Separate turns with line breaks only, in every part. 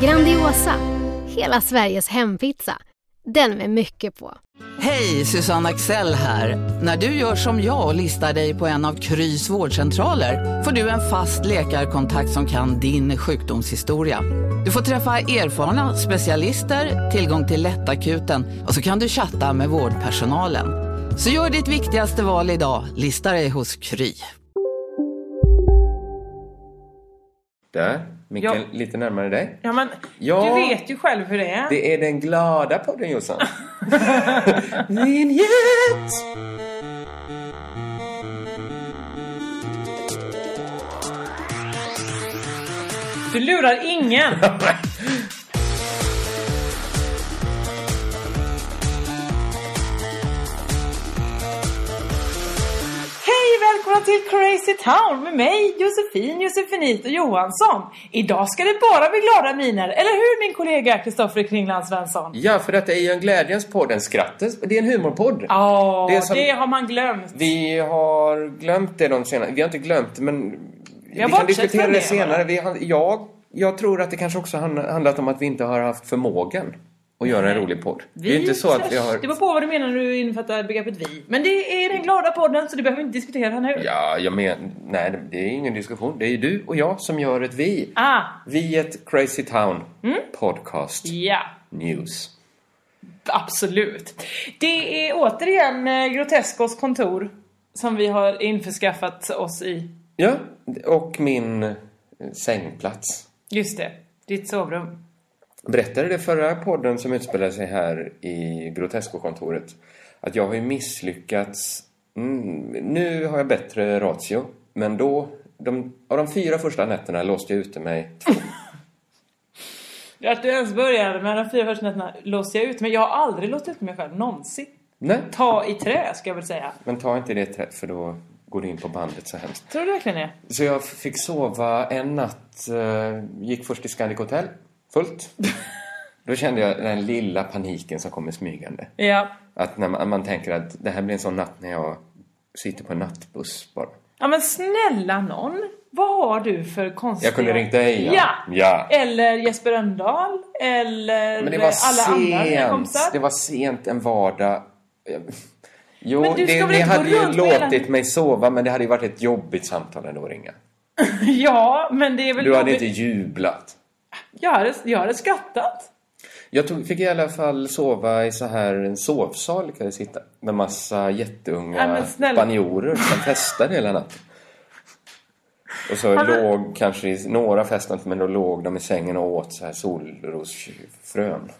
Grandiosa, hela Sveriges hempizza. Den med mycket på.
Hej, Susanne Axel här. När du gör som jag och listar dig på en av Krys vårdcentraler får du en fast läkarkontakt som kan din sjukdomshistoria. Du får träffa erfarna specialister, tillgång till lättakuten och så kan du chatta med vårdpersonalen. Så gör ditt viktigaste val idag, listar dig hos Kry.
Där, Mikael,
Ja.
lite närmare dig.
Ja men
Ja.
du vet ju själv hur det är.
Det är den glada podden Jossan. Vinjett!
Du lurar ingen. Hej välkomna till Crazy Town med mig Josefin Josefinito Johansson. Idag ska det bara bli glada miner, eller hur min kollega Kristoffer Kringland Svensson?
ja, för detta är ju en glädjens podd, en skrattens Det är en humorpodd.
Ja,
Det är
det,
som-
har man glömt.
Vi har glömt det de senare. Vi har inte glömt men vi,
har
kan
bortsett
diskutera
från
det
det,
senare. Vi, han- jag, jag tror att det kanske också han- handlat om att vi inte har haft förmågan att göra en rolig podd. det är ju inte så att vi har...
Det var på vad du menar när du innefattar begreppet vi. Men det är den glada podden så det behöver vi inte diskutera nu.
Ja, jag men... Nej, det- det är ingen diskussion. Det är ju du och jag som gör ett vi.
Ah, Mm.
Viet Crazy Town Podcast
ja.
News.
Absolut. Det är återigen eh, Groteskos kontor som vi har införskaffat oss i.
Ja, och min eh, sängplats.
Just det, ditt sovrum.
Berättade det förra podden som utspelade sig här i Grotesco-kontoret att jag har ju misslyckats. Mm, nu har jag bättre ratio, men då... De, av de fyra första nätterna låste jag ute mig.
Att du ens började med de fyra första nätterna låste jag ut men jag har aldrig låtit ut mig själv någonsin.
Nej,
Ta i trä ska jag väl säga.
men ta inte det trä- för då går du in på bandet så hemskt.
Tror du verkligen det?
Så jag fick sova en natt, eh, gick först till Scandic Hotel, fullt. Då kände jag den lilla paniken som kommer smygande.
Ja.
Att när man, man tänker att det här blir en sån natt när jag sitter på en nattbuss bara.
Ja men snälla någon. Vad har du för konstiga...
Jag kunde ringt dig.
Ja!
ja.
Eller Jesper Rönndahl. Eller
Men det var
alla andra dina
sent.
kompisar.
Det var sent en vardag. Eh, Jo,
Men du ska
det,
väl
ni
inte gå
hade ju
runt med hela-
låtit mig sova men det hade ju varit ett jobbigt samtal ändå att ringa.
Ja, men det är väl...
Du hade
jobbigt.
inte jublat.
Jag hade, jag hade skrattat.
Jag tog, fick i alla fall sova i så här en sovsal kan jag sitta med massa
Nej,
jätteunga
men snälla.
spanjorer som festade hela natten. Och så
men-
låg kanske, i- några festade inte men då låg de i sängen och åt så här solrosfrön.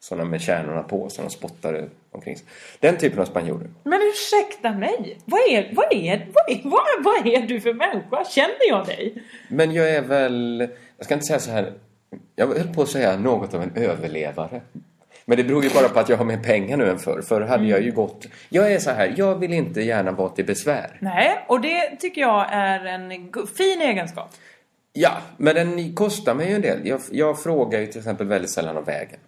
Sådana med kärnorna på som de spottade omkring sig. Den typen av spanjorer.
Men ursäkta mig, vad är, vad är, vad är, vad är, vad är du för människa? Känner jag dig?
Men jag är väl, jag ska inte säga så här, jag höll på att säga något av en överlevare. Men det beror ju bara på att jag har mer pengar nu än förr. Förr hade jag ju gått... Jag är så här, jag vill inte gärna vara till besvär.
Nej, och det tycker jag är en go- fin egenskap.
Ja, men den kostar mig ju en del. Jag, jag frågar ju till exempel väldigt sällan om vägen.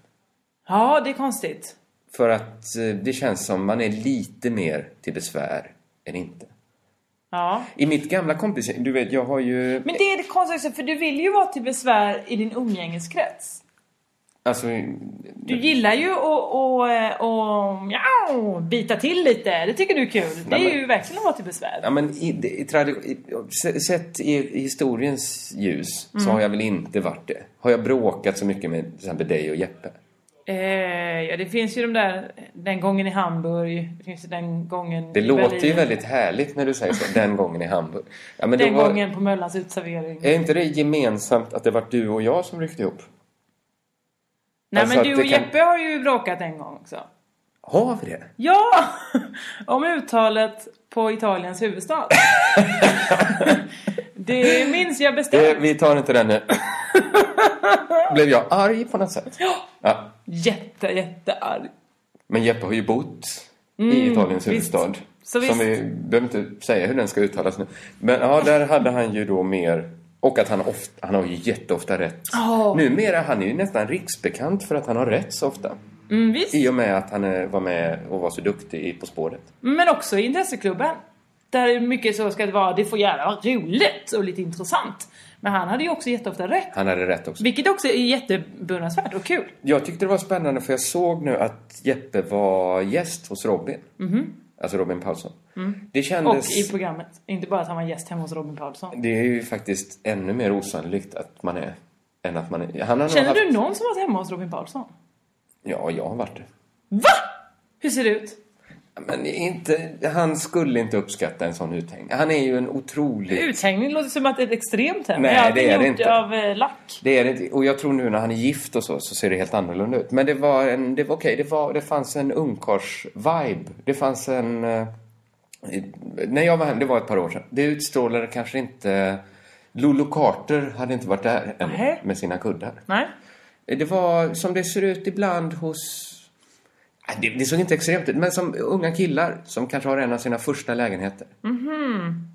Ja, det är konstigt.
För att eh, det känns som man är lite mer till besvär än inte.
Ja.
I mitt gamla kompis, du vet jag har ju...
Men det är det konstigaste, för du vill ju vara till besvär i din umgängeskrets.
Alltså,
Du gillar ju att och, och, ja, bita till lite, det tycker du är kul. Det
Nej,
är
men-
ju verkligen att vara till besvär.
Ja, men i, det- i, tradi- i, se- sett i, i historiens ljus så har jag väl inte varit det. Har jag bråkat så mycket med till exempel dig och Jeppe?
Eh, ja, det finns ju de där, den gången i Hamburg, det finns ju den gången
Det
i
låter ju
Berlin,
väldigt härligt när du säger så, den gången i Hamburg. Ja, men
Den
då var, Eh,
gången på Möllans utservering.
Är inte det gemensamt att det var du och jag som ryckte ihop?
Nej
Alltså
men
att
du
det
och
kan-
Jeppe har ju bråkat en gång också.
Har vi det?
Ja! Om uttalet på Italiens huvudstad. det minns jag bestämt.
Eh, vi tar inte den nu. Blev jag arg på något sätt? Ja.
Jätte, jättearg.
Men Jeppe har ju bott i Italiens
Mm, visst.
huvudstad. som
Så visst.
vi behöver inte säga hur den ska uttalas nu. Men ja, där hade han ju då mer... Och att han, ofta, han har ju jätteofta rätt.
Ja.
Numera, han är ju nästan riksbekant för att han har rätt så ofta.
Mm, visst.
I och med att han eh, var med och var så duktig i På spåret.
Men också i intresseklubben. Där är mycket så ska det vara, det får gärna vara roligt och lite intressant. Men han hade ju också jätteofta rätt.
Han hade rätt också.
Vilket också är jättebeundransvärt och kul.
Jag tyckte det var spännande för jag såg nu att Jeppe var gäst hos Robin. Alltså Robin Paulsson. Det
Mhm. Mm.
Mm.
Och
kändes...
i programmet. Inte bara att han var gäst hemma hos Robin Paulsson.
Det är ju faktiskt ännu mer osannolikt att man är än att man är... Han har nog
Känner
haft...
du någon som varit hemma hos Robin Paulsson?
Ja, jag har varit det.
VA? Hur ser det ut?
Men inte, han skulle inte uppskatta en sån uthängning. Han är ju en otrolig...
Uthängning låter som att det är ett extremt hem.
Nej,
Men allting
det är det
gjort
inte.
av eh, lack.
Det är det, och jag tror nu när han är gift och så, så ser det helt annorlunda ut. Men det var en, det var okej, det, var, det fanns en ungkars-vibe. Det fanns en... eh, När jag var hemma, det var ett par år sedan, det utstrålade kanske inte... Lolo Carter hade inte varit där än
Nej.
med sina kuddar.
Nej.
Det var som det ser ut ibland hos... Nej, Det, det såg inte extremt ut, men som unga killar som kanske har en av sina första lägenheter.
Mhm.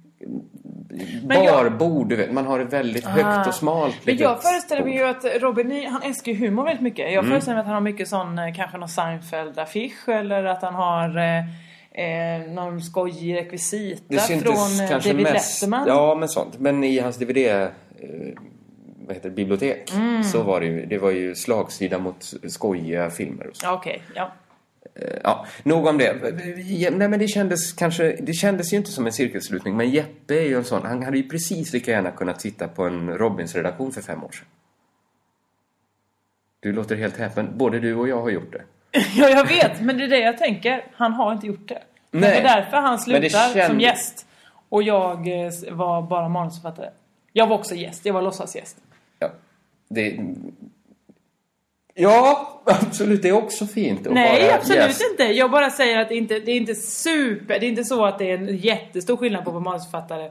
Men jag- Ah.
Barbord, du vet. Man har det väldigt högt och smalt.
Men
litet
jag föreställer mig
bord.
ju att Robin, ni- han älskar ju humor väldigt mycket. Jag
Mm.
föreställer mig att han har mycket sån, eh, kanske någon Seinfeld-affisch eller att han har eh, eh, någon skojig rekvisita
Det syntes
från eh,
kanske
David
mest,
Letterman.
Ja, men sånt. Men i hans DVD... Eh, vad heter det? Bibliotek.
Mm.
Så var det ju. Det var ju slagsida mot skojiga filmer och så.
Ja, Okej, ja.
Ja, nog om det. Nej, men det kändes kanske... Det kändes ju inte som en cirkelslutning. Men Jeppe är ju en sån. Han hade ju precis lika gärna kunnat sitta på en Robins-redaktion för fem år sedan. Du låter helt häpen. Både du och jag har gjort det.
ja, jag vet. Men det är det jag tänker. Han har inte gjort det. Men
Nej.
Det är därför han
Men
slutar
det kändes-
som gäst. Och jag eh, var bara manusförfattare. Jag var också gäst. Jag var låtsasgäst.
Ja, det... Ja, absolut. Det är också fint att
Nej,
vara
absolut
gäst.
inte. Jag bara säger att det inte det är inte super... Det är inte så att det är en jättestor skillnad på vad manusförfattare...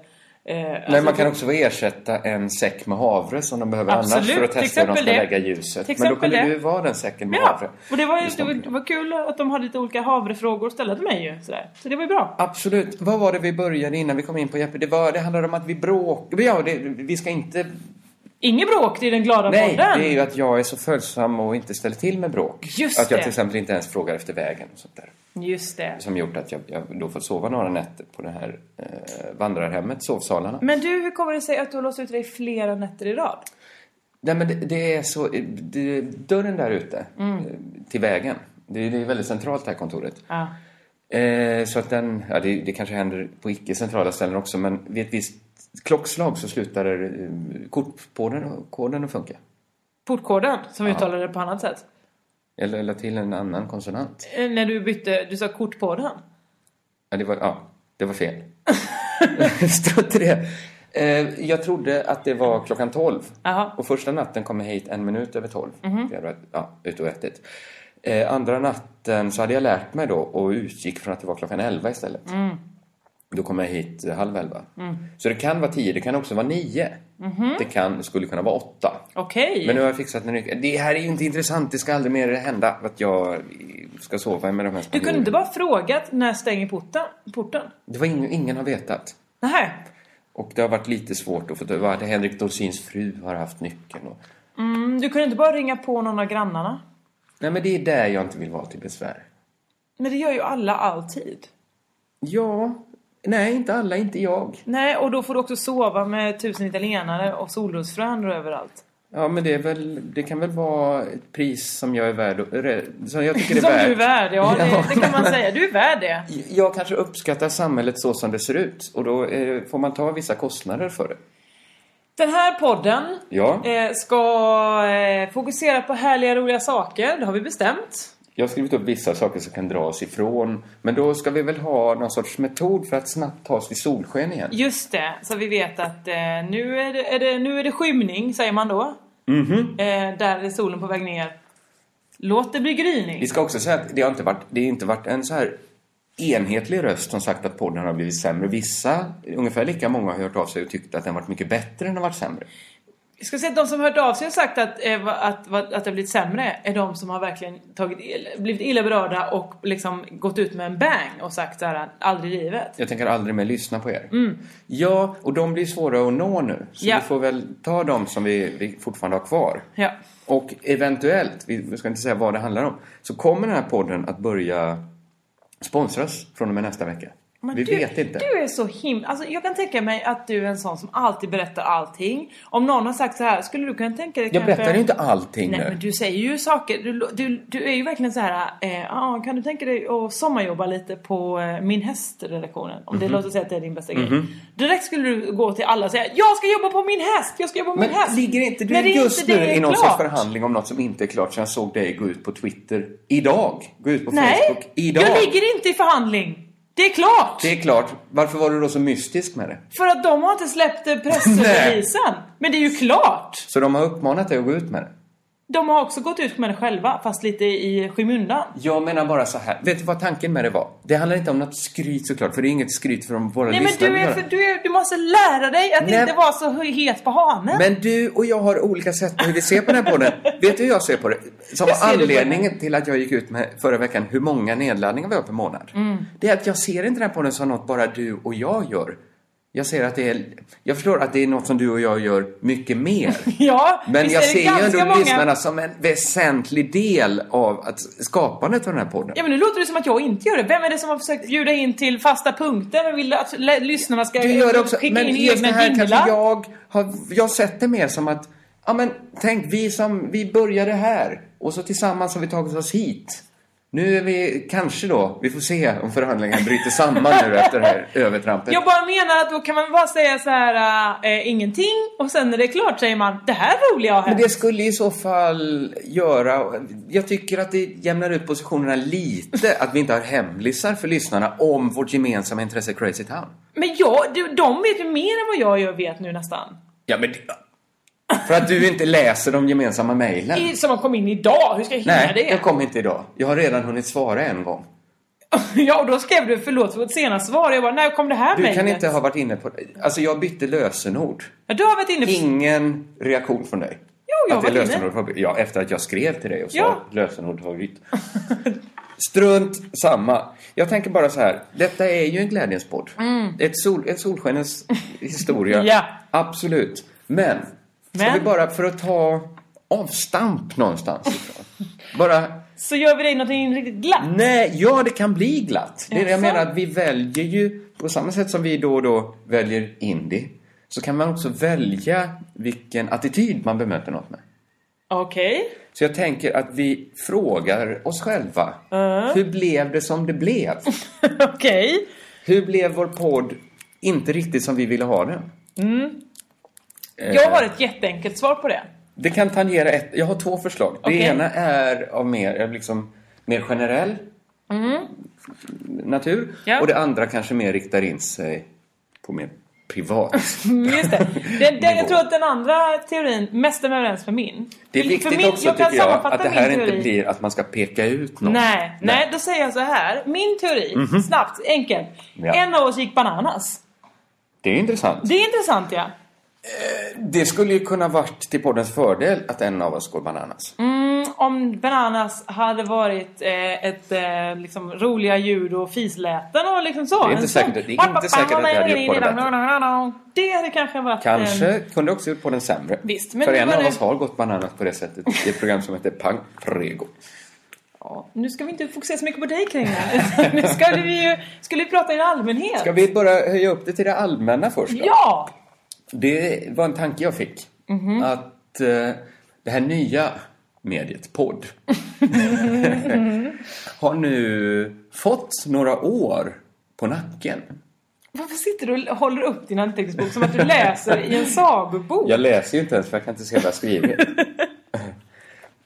Eh,
Nej, man kan också få ersätta en säck med havre som de behöver annars
Absolut,
för att
till
testa hur de ska
exempel det.
lägga ljuset.
Till
Men då
exempel
kunde du
det.
vara den säcken med
Ja,
havre.
och det var, ju,
Just
det,
det.
var, det var kul att de hade lite olika havrefrågor att ställa till mig ju. Sådär. Så det var ju bra.
Absolut. Vad var det vi började innan vi kom in på Jeppe? Det, var, det handlade om att vi bråkade. Ja, det, vi ska inte...
Inget bråk, det är den glada
Nej, det
podden.
är ju att jag är så följsam och inte ställer till med bråk.
Just
att jag
det.
till exempel inte ens frågar efter vägen och sånt där.
Just det.
Som gjort att jag, jag då får sova några nätter på det här eh, vandrarhemmet, sovsalarna.
Men du, hur kommer det sig att du har låst ut dig flera nätter i rad?
Nej men det, det är så, det, dörren där ute
Mm.
eh, till vägen, det, det är väldigt centralt det här kontoret.
Ja.
Eh, så att den, ja det, det kanske händer på icke centrala ställen också men vid ett visst klockslag så slutar eh, kortkoden koden att funka.
Portkoden, som vi uttalade det på annat sätt.
Eller, eller till en annan konsonant.
Eh, När du bytte, du sa kortkoden.
Ja, det var, ja, det var fel. Strunt i det. Eh, jag trodde att det var klockan 12.
Jaha.
Och första natten kom jag hit en minut över 12.
Mhm.
Jag hade varit ja, ute och ätit. Eh, andra natten så hade jag lärt mig då och utgick från att det var klockan 11 istället.
Mm.
Då kom jag hit eh, halv 11. Så det kan vara 10, det kan också vara 9.
Mhm.
Det kan, skulle kunna vara 8.
Okej.
Men nu har jag fixat en nyckel. Det här är ju inte intressant, det ska aldrig mer hända att jag eh, ska sova med de här
Du kunde
spanjorerna.
inte bara frågat när stänger porten? porten?
Det var ingen, ingen har vetat.
Nej.
Och det har varit lite svårt att få det var att Henrik Dorsins fru har haft nyckeln. Och...
Mm, Du kunde inte bara ringa på någon av grannarna?
Nej men det är där jag inte vill vara till besvär.
Men det gör ju alla alltid.
Ja, nej inte alla, inte jag.
Nej, och då får du också sova med tusen italienare och solrosfrön överallt.
Ja men det är väl, det kan väl vara ett pris som jag är värd, och- re- som jag tycker är
Som
värt.
du är värd, ja, det, det kan man säga. Du är värd det.
Jag kanske uppskattar samhället så som det ser ut och då eh, får man ta vissa kostnader för det.
Den här podden
Ja,
eh, ska eh, fokusera på härliga, roliga saker. Det har vi bestämt.
jag har skrivit upp vissa saker som kan dras ifrån. Men då ska vi väl ha någon sorts metod för att snabbt ta oss till solsken igen.
Just det, så vi vet att eh, nu, är det, är det, nu är det skymning, säger man då.
Mhm.
Eh, där är solen på väg ner. Låt det bli gryning.
Vi ska också säga att det har inte varit, det har inte varit en så här enhetlig röst som sagt att podden har blivit sämre. Vissa, ungefär lika många, har hört av sig och tyckt att den varit mycket bättre än den varit sämre.
Jag ska säga att de som hört av sig och sagt att, eh, va- att, va- att det har blivit sämre är de som har verkligen tagit, ill- blivit illa berörda och liksom gått ut med en bang och sagt såhär, aldrig i livet.
Jag tänker aldrig mer lyssna på er. Ja, och de blir svåra att nå nu. Så
Mm. Ja.
vi får väl ta de som vi, vi fortfarande har kvar.
Ja.
Och eventuellt, vi vi ska inte säga vad det handlar om, så kommer den här podden att börja sponsras från och med nästa vecka.
Men
vi
du,
vet inte.
Du är så himla... Alltså jag kan tänka mig att du är en sån som alltid berättar allting. Om någon har sagt så här, skulle du kunna tänka dig
jag
kanske...
berättar ju inte allting
Nej
nu.
men du säger ju saker, du, du, du är ju verkligen så här, eh, ah, kan du tänka dig att sommarjobba lite på eh, min häst-redaktionen? Om det
Mhm.
låter sig att det är din bästa grej. Direkt skulle du gå till alla och säga, jag ska jobba på min häst, jag ska jobba på
Men
min häst.
ligger inte du
När det
just
inte det
nu
är
i någon
klart.
sorts förhandling om något som inte är klart? Så jag såg dig gå ut på Twitter idag. Gå ut på
Nej,
Facebook idag.
jag ligger inte i förhandling. Det är klart!
Det är klart. Varför var du då så mystisk med det?
För att de har inte släppt eh, pressreleasen. men det är ju klart!
Så de har uppmanat dig att gå ut med det?
De har också gått ut med det själva, fast lite i skymundan.
Jag menar bara så här. Vet du vad tanken med det var? Det handlar inte om något skryt såklart, för det är inget skryt från våra
Nej men
lyssnare.
du, är, för, du, är, du måste lära dig att
Nej.
inte vara så het på hanen.
Men du och jag har olika sätt på hur vi ser på den här podden. Vet du hur jag ser på det? Som
Hur ser
var
du på den?
anledningen till att jag gick ut med förra veckan hur många nedladdningar vi har per månad.
Mm.
Det är att jag ser inte den här podden som något bara du och jag gör. Jag ser att det är, jag förstår att det är något som du och jag gör mycket mer.
ja,
Men
visst
jag
är det
ser ju
ganska
ändå
många...
lyssnarna som en väsentlig del av att skapandet av den här podden.
Ja men nu låter det som att jag inte gör det. Vem är det som har försökt bjuda in till fasta punkter men vill att lä- lyssnarna ska eh,
Du gör det också,
skicka
men
in
just det
egna
här kanske
jinglar?
jag har, jag sett det mer som att, ja men tänk vi som, vi började här och så tillsammans har vi tagit oss hit. Nu är vi, kanske då, vi får se om förhandlingen bryter samman nu efter det här övertrampet.
Jag bara menar att då kan man bara säga så här eh, ingenting och sen när det är klart säger man det här roliga har
Men
hänt.
det skulle i så fall göra, jag tycker att det jämnar ut positionerna lite, att vi inte har hemlisar för lyssnarna om vårt gemensamma intresse Crazy Town.
Men jag, du, de vet ju mer än vad jag gör vet nu nästan.
Ja men det- för att du inte läser de gemensamma mejlen.
I, som har kommit in idag, hur ska jag hinna det?
Nej, jag kom inte idag. Jag har redan hunnit svara en gång.
Ja, och då skrev du förlåt för vårt senaste svar. Jag bara, när kom det här
Du kan
mejlet?
inte ha varit inne på... Alltså jag bytte lösenord.
Ja, du har varit inne på...
Ingen reaktion från dig.
Jo, jag
att det
var inne.
lösenord har bytt- Ja, efter att jag skrev till dig och sa
Ja.
att lösenord har bytt. Strunt samma. Jag tänker bara så här. Detta är ju en glädjens podd. Ett, sol, ett solskenens historia.
Mm. Ja.
Absolut. Men, ska
Men?
vi bara för att ta avstamp någonstans ifrån. bara
Så gör vi dig någonting riktigt glatt.
Nej, ja det kan bli glatt. Det är det jag
Jaså?
menar att vi väljer ju, på samma sätt som vi då och då väljer indie, så kan man också välja vilken attityd man bemöter något med.
Okej.
Så jag tänker att vi frågar oss själva. Hur blev det som det blev?
Okej.
Hur blev vår podd inte riktigt som vi ville ha den?
Mm.
Eh.
Jag har ett jätteenkelt svar på det.
Det kan tangera ett... Jag har två förslag. Det
Okej.
ena är av mer, är liksom, mer generell natur.
Mm. Ja.
Och det andra kanske mer riktar in sig på mer privat.
Mm, Just det. Den, den,
Nivå.
jag tror att den andra teorin mest stämmer överens med min.
Det är
För
viktigt
min-
också,
jag kan
tycker jag,
sammanfatta
att det här
min
inte
teori.
blir att man ska peka ut någon.
Nej, nej, då säger jag så här. Min teori, snabbt, enkelt.
Mhm. Ja.
En av oss gick bananas.
Det är intressant.
Det är intressant ja.
Det skulle ju kunna varit till poddens fördel att en av oss går bananas.
Mm. Om bananas hade varit eh, ett eh, liksom, roliga ljud och fisläten och liksom så.
är inte
En sån.
säkert- det är inte säkert att det hade gjort podden
Det hade kanske varit... en-
Kanske kunde också gjort podden sämre.
Visst, men
För
nu
en
var
av
det-
oss har gått bananas på det sättet i ett program som heter Pang Prego.
Ja, nu ska vi inte fokusera så mycket på dig kring det. nu ska vi ju skulle vi prata i allmänhet.
Ska vi börja höja upp det till det allmänna först då?
Ja!
Det var en tanke jag fick. Att eh, det här nya mediet, podd, har nu fått några år på nacken.
Varför sitter du och håller upp din anteckningsbok som att du läser i en sagobok?
Jag läser ju inte ens för jag kan inte se vad jag skriver.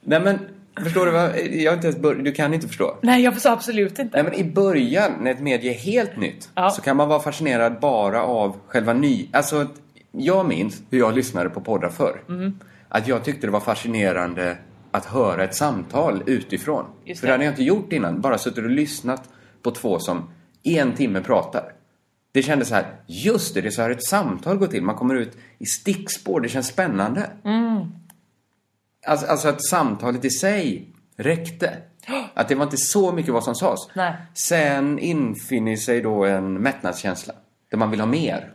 Nej men, förstår du vad? Jag har inte ens bör- du kan inte förstå.
Nej, jag förstår absolut inte.
Nej men i början, när ett medie är helt nytt,
Ja.
så kan man vara fascinerad bara av själva ny... Alltså, att jag minns hur jag lyssnade på poddar förr.
Mm.
Att jag tyckte det var fascinerande att höra ett samtal utifrån.
Just
För
det.
det hade jag inte gjort innan, bara suttit och lyssnat på två som i en timme pratar. Det kändes så här, just det, det är så här ett samtal går till. Man kommer ut i stickspår, det känns spännande. Alltså, alltså att samtalet i sig räckte. Att det var inte så mycket vad som sades.
Nej.
Sen infinner sig då en mättnadskänsla. Där man vill ha mer.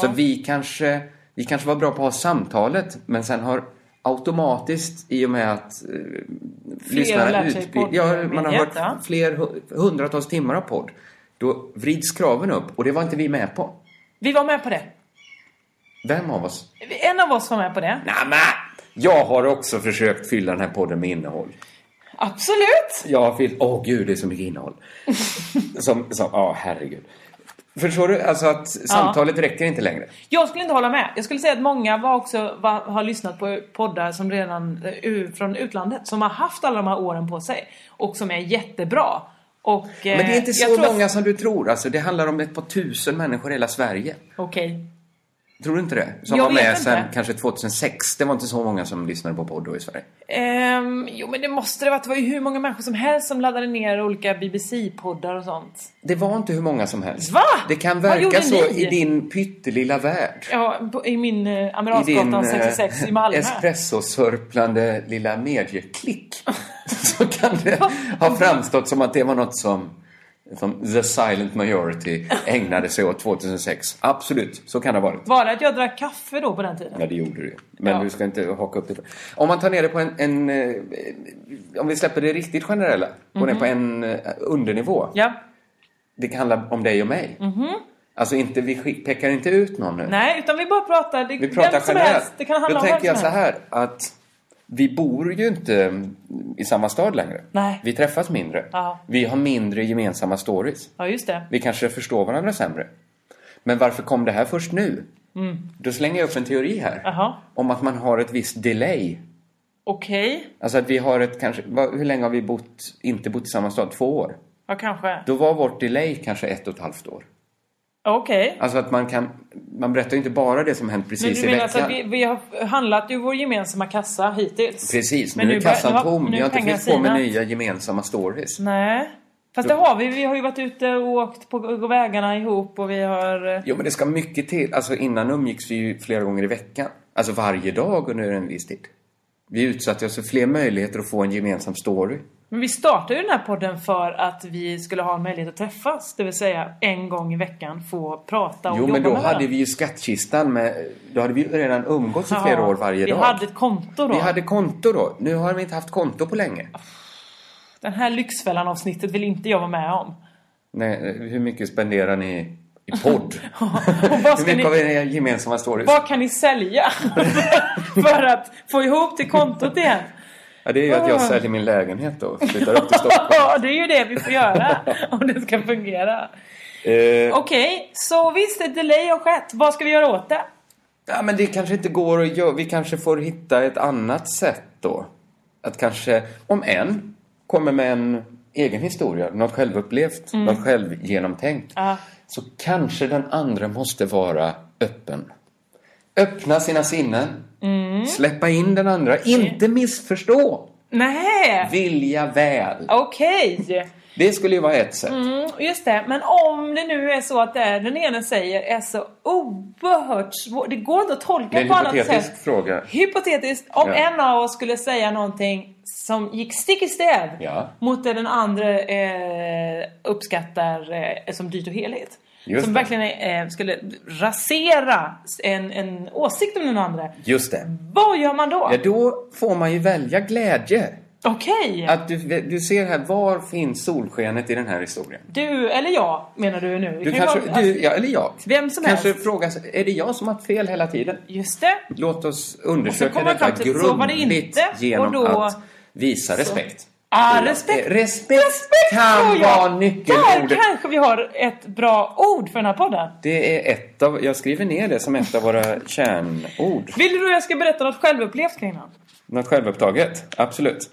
Så vi kanske, vi kanske var bra på att ha samtalet men sen har automatiskt i och med att eh, lyssnare
lärt sig
utbildar...
podd-
Ja, man har
mediet,
hört
ja.
fler hu- hundratals timmar av podd. Då vrids kraven upp och det var inte vi med på.
Vi var med på det.
Vem av oss?
En av oss var med på det.
Nämen! Jag har också försökt fylla den här podden med innehåll.
Absolut!
Jag har fyllt... Åh gud, det är så mycket innehåll. som, som, ja, herregud. Förstår du? Alltså att samtalet räcker inte längre.
Jag skulle inte hålla med. Jag skulle säga att många var också, var, har lyssnat på poddar som redan eh, ur, från utlandet. Som har haft alla de här åren på sig. Och som är jättebra. Och, eh,
Men det är inte så många som du tror. Alltså, det handlar om ett par tusen människor i hela Sverige.
Okej.
Tror du inte det? Som
Jag
var med
vet inte.
sen kanske 2006. Det var inte så många som lyssnade på podd då i Sverige.
Ehm, jo men det måste det vara. Det var ju hur många människor som helst som laddade ner olika BBC-poddar och sånt.
Det var inte hur många som helst.
Va?
Det kan
Vad gjorde
verka så
ni?
i din pyttelilla värld.
Ja, på, i min eh,
I din
Amiralsgatan
eh,
66 i Malmö.
espressosörplande lilla medieklick så kan det ha framstått som att det var något som, som the silent majority ägnade sig åt 2006. Absolut, så kan det ha varit.
Var det att jag drack kaffe då på den tiden?
Ja, det gjorde du ju. Men
Ja.
du ska inte haka upp det. på- Om man tar ner det på en... en eh, om vi släpper det riktigt generella. Går ner på en eh, undernivå.
Mhm. Ja. Mhm.
Det kan handla om dig och mig. Alltså, inte, vi skick- pekar inte ut någon nu.
Nej, utan vi bara pratar. Det,
Vi pratar
vem som
generellt.
helst. Det kan handla
Då
om vem
tänker jag
som
så
helst.
här att vi bor ju inte mm, i samma stad längre.
Nej.
Vi träffas mindre.
Ja.
Vi har mindre gemensamma stories.
Ja, just det.
Vi kanske förstår varandra sämre. Men varför kom det här först nu? Då slänger jag upp en teori här.
Mm. Jaha.
Om att man har ett visst delay.
Okej.
Alltså att vi har ett kanske... vad- Hur länge har vi bott, inte bott i samma stad? Två år.
Ja, kanske.
Då var vårt delay kanske ett och ett halvt år.
Okej.
Alltså att man kan... Man berättar ju inte bara det som hänt
Men
precis
du
i
menar
veckan.
alltså att vi, vi har handlat ur vår gemensamma kassa hittills?
Precis,
Men
nu,
nu
är
bör-
kassan
nu har-
tom.
nu
Vi har inte
pengar
fyllt på med nya
sina.
gemensamma stories.
Nej. Fast det har vi. Vi har ju varit ute och åkt på på vägarna ihop och vi har... eh,
Jo, men det ska mycket till. Alltså innan umgicks vi ju flera gånger i veckan. Alltså varje dag under en viss tid. Vi utsatte oss för fler möjligheter att få en gemensam story.
Men vi startade ju den här podden för att vi skulle ha en möjlighet att träffas. Det vill säga en gång i veckan få prata och
Jo,
jobba
men då
med varandra.
hade vi ju skattkistan med... Då hade vi ju redan umgåtts i flera
Ja,
år varje
vi
dag.
hade ett konto då.
Vi hade konto då. Nu har vi inte haft konto på länge.
Den här Lyxfällan-avsnittet vill inte jag vara med om.
Nej, hur mycket spenderar ni i podd?
Och vad
hur
ska
mycket
ni...
av era gemensamma stories?
Vad kan ni sälja? för att få ihop till kontot igen?
Ja, det är ju att jag säljer min lägenhet då och flyttar upp till Stockholm.
Ja, det är ju det vi får göra om det ska fungera.
Eh,
Okej, så visst, ett delay har skett. Vad ska vi göra åt det?
Ja, men det kanske inte går att göra. Vi kanske får hitta ett annat sätt då. Att kanske, om en, kommer med en egen historia, något självupplevt, något självgenomtänkt.
Mm. Ja.
Så kanske den andra måste vara öppen. Öppna sina sinnen.
Mm.
Släppa in den andra. Inte missförstå.
Nej,
Vilja väl.
okej.
Det skulle ju vara ett sätt.
Mm, Just det, men om det nu är så att det den ena säger är så oerhört svårt. Det går inte att
Det är
tolka
en
på annat
hypotetisk
sätt.
fråga.
Hypotetiskt, om
Ja.
en av oss skulle säga någonting som gick stick i stäv
Ja.
mot det den andra eh, uppskattar eh, som dyrt och heligt.
Just
som
det.
verkligen eh, skulle rasera en, en åsikt om den andra.
Just det.
Vad gör man då?
Ja, då får man ju välja glädje.
Okej!
Att du, du ser här, var finns solskenet i den här historien?
Du eller jag menar du nu. Det
Du
kan ju
kanske,
vara- alltså,
du, ja, eller jag,
Vem som
kanske
helst.
frågar sig, är det jag som har haft fel hela tiden?
Alltså, Just det.
Låt oss
Och så
undersöka
kommer
detta
man fram till, så var det
grundligt
inte, och
genom
då-
att visa respekt.
Ah, respekt.
Eh, respekt,
tror
kan
jag.
vara
Där
nyckelordet.
kanske vi har ett bra ord för den här podden.
Det är ett av, jag skriver ner det som ett av våra kärnord.
Vill du att jag ska berätta något självupplevt Kringlan?
Något självupptaget, absolut.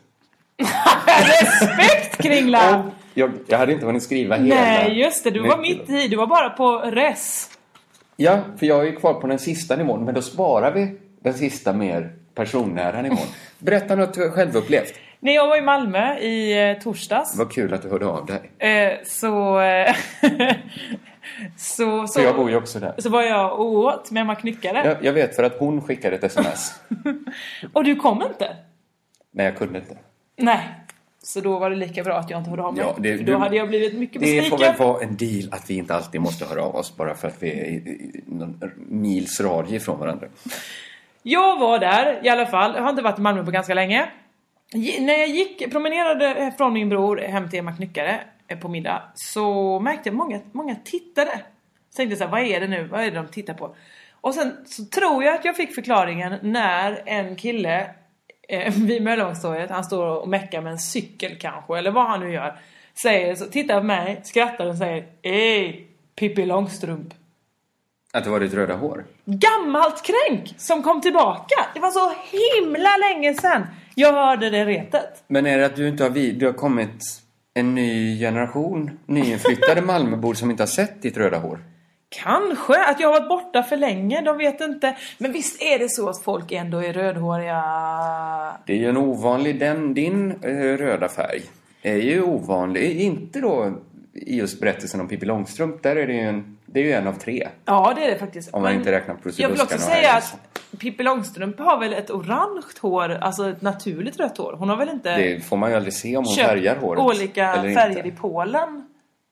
Respekt Kringlan!
Och Jag, jag hade inte hunnit skriva hela.
Nej just det, du var
nyckelordet.
mitt i. Du var bara på res.
Ja, för jag är ju kvar på den sista nivån, men då sparar vi den sista mer personnära nivån. Berätta något du har självupplevt.
När jag var i Malmö i eh, torsdags
Vad kul att du hörde av dig.
eh, så, eh, så,
För jag bor
så,
ju också där.
så var jag och åt med Emma Knyckare.
Jag, jag vet för att hon skickade ett sms.
Och du kom inte?
Nej, jag kunde inte.
Nej. Så då var det lika bra att jag inte hörde av mig.
Ja, det-
För
du-
då hade jag blivit mycket
Det får
besviken.
väl vara en deal att vi inte alltid måste höra av oss bara för att vi är i- i- någon mils radie ifrån varandra.
Jag var där i alla fall. Jag har inte varit i Malmö på ganska länge. G- när jag gick, promenerade från min bror hem till Emma Knyckare eh, på middag så märkte jag många, många tittade. Så tänkte jag så här, vad är det nu? Vad är det de tittar på? Och sen så tror jag att jag fick förklaringen när en kille eh, vid Möllevångstorget, han står och meckar med en cykel kanske, eller vad han nu gör. Säger, så tittar på mig, skrattar och säger Ey, Pippi Långstrump.
Att det var ditt röda hår.
Gammalt kränk som kom tillbaka. Det var så himla länge sedan jag hörde det retet.
Men är det att du inte har, vid, du har kommit en ny generation nyinflyttade Malmöbor som inte har sett ditt röda hår?
Kanske att jag har varit borta för länge, de vet inte. Men visst är det så att folk ändå är rödhåriga?
Det är ju en ovanlig, den, din eh, röda färg är ju ovanlig. Inte då i just berättelsen om Pippi Långstrump, där är det ju en, det är ju en av tre.
Ja, det är det faktiskt.
Om man
Men
inte räknar Puss i
Jag vill också
buskarna liksom. och
säga
Herrens.
att Pippi Långstrump har väl ett orange hår, alltså ett naturligt rött hår. Hon har väl inte
Det får man ju aldrig se om hon
köpt
färgar håret.
olika
eller
färger
inte.
i Polen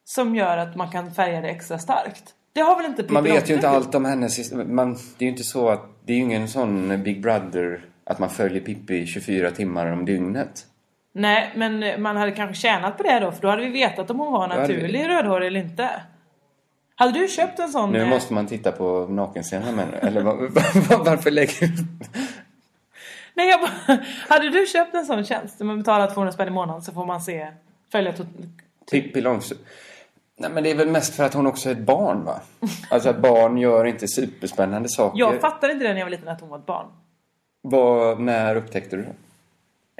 som gör att man kan färga det extra starkt? Det har väl inte Pippi
Man vet ju
Långstrump
inte
gjort?
allt om hennes... Man, det är ju inte så att... Det är ju ingen sån Big Brother att man följer Pippi 24 timmar om dygnet.
Nej, men eh, man hade kanske tjänat på det då, för då hade vi vetat om hon var
hade
naturlig rödhårig eller inte. Hade du köpt en sån?
Nu
eh,
måste man titta på nakenscenerna med nu. Eller var, var, varför lägger du...
Nej, jag bara... Hade du köpt en sån tjänst? Man betalar 200 spänn i månaden så får man se... Följa tot...
Pippi Långstrump? Nej men det är väl mest för att hon också är ett barn va? Alltså att barn gör inte superspännande saker.
Jag fattade inte det när jag var liten att hon var ett barn.
Vad, när upptäckte du det?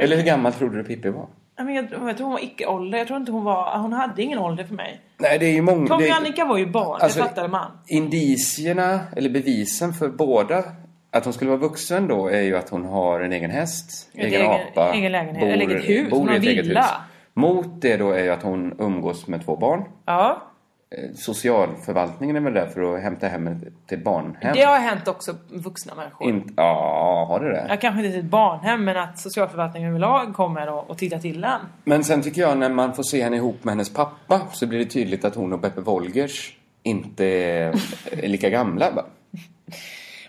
Eller hur gammal trodde du Pippi var?
Nej, Men jag, jag tror hon var icke-ålder. Jag tror inte hon var... ah, Hon hade ingen ålder för mig.
Nej det är ju många...
Tommy
det-
och Annika var ju barn,
Alltså-
det fattade man.
Indicierna, eller bevisen för båda att hon skulle vara vuxen då är ju att hon har en egen häst,
Ett
egen
egen-
apa,
egen lägenhet, eller eget hus, hon
bor
har
i ett eget
villa.
hus. Mot det då är ju att hon umgås med två barn.
Ja.
Eh, Socialförvaltningen är väl där för att hämta hem ett- till barnhem?
Det har hänt också vuxna människor.
Inte, ja, har det det?
Ja, kanske inte till ett barnhem, men att socialförvaltningen överlag kommer och, och tittar till en.
Men sen tycker jag när man får se henne ihop med hennes pappa så blir det tydligt att hon och Beppe Wolgers inte är är lika gamla. Va?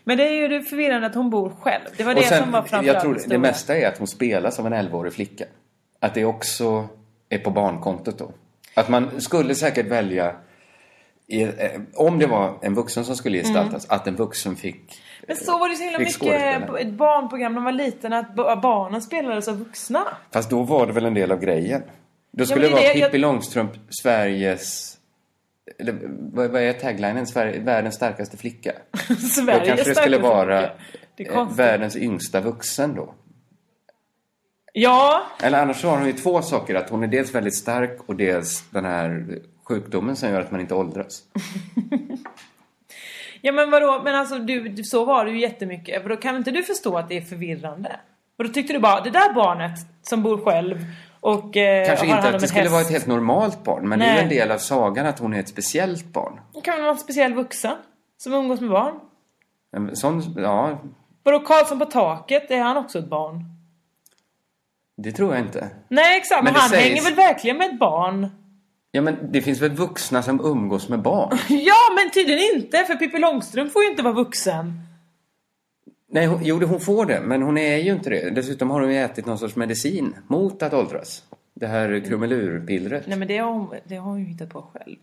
Men det är ju det förvirrande att hon bor själv. Det var
Och
det
sen,
som var framförallt
jag tror det,
stora.
det mesta är att hon spelas av en 11-årig flicka. Att det också är på barnkontot då. Att man skulle säkert välja, i, eh, om det var en vuxen som skulle gestaltas,
Mm.
att en vuxen fick...
Men så var det så himla
Fick
mycket
skådespelare.
på ett barnprogram när man var liten att ba- barnen spelades av vuxna.
Fast då var det väl en del av grejen. Då skulle
men
det
det
vara
är det- jag-
Pippi Långstrump, Sveriges... Eller, vad, vad är taglinen? Sverige, världens starkaste flicka.
Sverige
Då kanske det skulle vara
Det är
eh,
konstigt.
världens yngsta vuxen då.
Ja,
Eller annars så har hon ju två saker. Att hon är dels väldigt stark och dels den här sjukdomen som gör att man inte åldras.
Eh, ja men vadå, men alltså du, du- så var det ju jättemycket. För då kan inte du förstå att det är förvirrande? Och då tyckte du bara, det där barnet som bor själv och eh,
Kanske
har hand
inte
om
att det
en
skulle
häst.
vara ett helt normalt barn. Men det är ju
Nej.
en del av sagan att hon är ett speciellt barn.
Det kan väl vara en speciell vuxen som umgås med barn.
En sån, ja,
Vadå Karlsson på taket, är han också ett barn?
det tror jag inte.
Nej exakt,
Men
men
det
han
sägs-
hänger väl verkligen med ett barn?
Ja, men det finns väl vuxna som umgås med barn?
Ja men tydligen inte, för Pippi Långstrump får ju inte vara vuxen.
Nej, hon, jo, det- hon får det. Men hon är ju inte det. Dessutom har hon ju ätit någon sorts medicin mot att åldras. Det här krumelurpillret.
Nej men det har, hon, det har hon ju hittat på själv.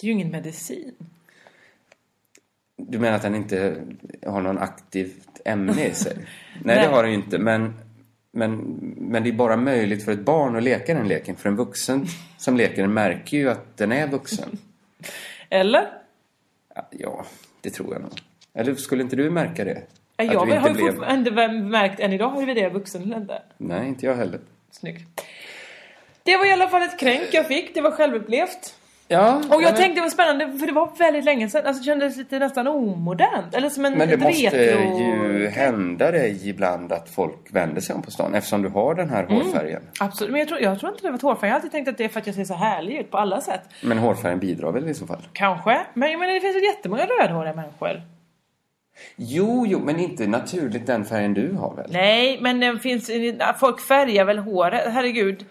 Det är ju ingen medicin.
Du menar att den inte har någon aktivt ämne i sig? Nej,
Nej.
det har den ju inte. Men, men, men det är bara möjligt för ett barn att leka den leken. För en vuxen som leker den märker ju att den är vuxen.
Eller?
Ja, det tror jag nog. Eller skulle inte du märka det?
Jag
att du
har ju
blev-
fortfarande inte märkt än idag huruvida jag är vuxen eller inte.
Nej, inte jag heller.
Snyggt. Det var i alla fall ett kränk jag fick, det var självupplevt.
Ja,
Och jag
nej,
tänkte det var spännande för det var väldigt länge sedan. Alltså det kändes lite nästan omodernt. Eller som en
Men det
ett
måste
retro...
ju hända dig ibland att folk vänder sig om på stan eftersom du har den
Mm.
här hårfärgen.
Absolut, men jag tror, jag tror inte det var ett hårfärg. Jag har alltid tänkt att det är för att jag ser så härlig ut på alla sätt.
Men hårfärgen bidrar väl i så fall?
Kanske. Men jag menar det finns ju jättemånga rödhåriga människor.
Jo, jo, men inte naturligt den färgen du har väl?
Nej, men den finns... Folk färgar väl håret? Herregud.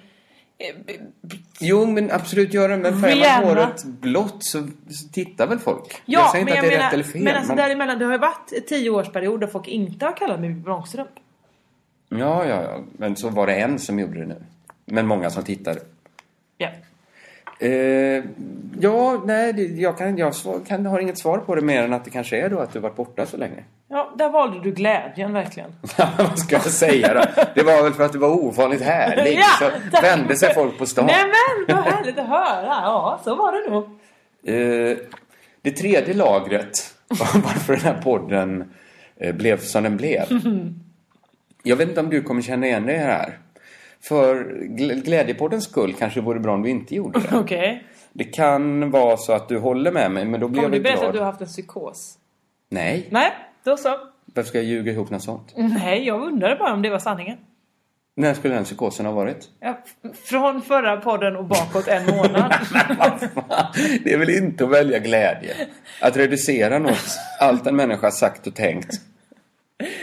Eh, b- b-
Jo, men absolut gör det. Men färgar man
Rihanna.
håret blått så, så tittar väl folk?
Ja,
jag säger inte
men
att det
jag
är
menar,
rätt eller fel.
men alltså däremellan, det har ju varit tio årsperiod där folk inte har kallat mig bronstrump.
Ja, ja, ja. Men så var det en som gjorde det nu. Men många som tittade.
Ja.
Eh, ja, nej, det, jag, kan, jag svar, kan, har inget svar på det mer än att det kanske är då att du varit borta så länge.
ja, där valde du glädjen verkligen.
Vad ska jag säga då? Det var väl för att det var ovanligt härligt.
Ja,
så
tack.
vände sig folk på stan.
Nej men vad härligt att höra! Ja, så var det nog.
Eh, det tredje lagret varför den här podden eh, blev som den blev. Jag vet inte om du kommer känna igen dig här. För gl- glädjepoddens skull kanske det vore bra om du inte gjorde det.
Okej.
Det kan vara så att du håller med mig, men då blir
Kommer
jag väl
du berätta att
glad.
du har haft en psykos?
Nej,
Nej, då så.
varför ska jag ljuga ihop något sånt?
Nej, jag undrade bara om det var sanningen.
När skulle den psykosen ha varit?
Ja, f- från förra podden och bakåt en månad.
Det är väl inte att välja glädje? Att reducera något, allt en människa sagt och tänkt,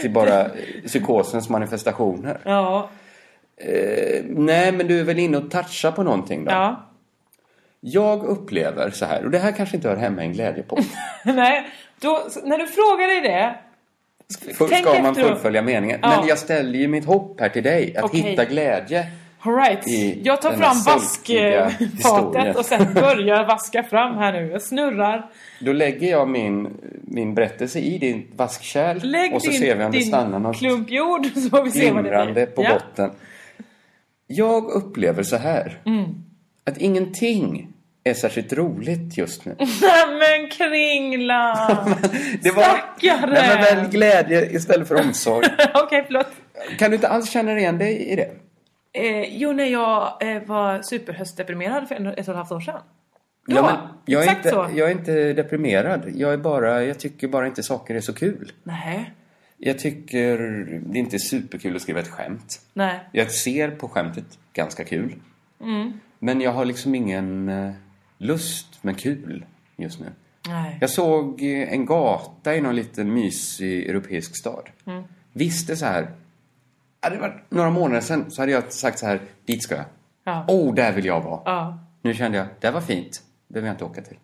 till bara eh, psykosens manifestationer.
ja,
Eh, nej, men du är väl inne och touchar på någonting då?
ja.
Jag upplever så här, och det här kanske inte hör hemma i en glädjepodd.
Nej, då, s- när du frågar dig det.
För-
Tänk
Ska man
efter då.
fullfölja meningen?
Ja.
Men jag ställer ju mitt hopp här till dig, att
Okej.
hitta glädje.
All right.
I
jag tar
den här
fram
sulkiga historien.
vaskfatet och sen börjar vaska fram här nu. Jag snurrar.
Då lägger jag min, min berättelse i din vaskkärl
Lägg
och så
din,
ser vi om det stannar
din
något
klump jord så får vi se vad det
glimrande
blir.
på
ja.
botten. Jag upplever så här,
Mm.
att ingenting är särskilt roligt just nu.
Nej men kringla!
Det var,
Stackare!
Nej, men väl glädje istället för omsorg.
Okej, förlåt.
Kan du inte alls känna igen dig i det?
Eh, jo, när jag eh, var superhöstdeprimerad för en, ett och ett halvt år sedan. Då,
jag, är
exakt
inte,
så.
jag är inte deprimerad. Jag, är bara, jag tycker bara inte saker är så kul.
Nej,
Jag tycker det är inte är superkul att skriva ett skämt.
nej.
Jag ser på skämtet ganska kul.
Mm.
Men jag har liksom ingen eh, lust med kul just nu.
Nej.
Jag såg eh, en gata i någon liten mysig europeisk stad.
Mm.
Visste så här. Hade det varit några månader sedan så hade jag sagt så här. Dit ska jag.
Ja.
Åh, oh, där vill jag vara.
Ja.
Nu kände jag, det var fint. Det behöver jag inte åka till.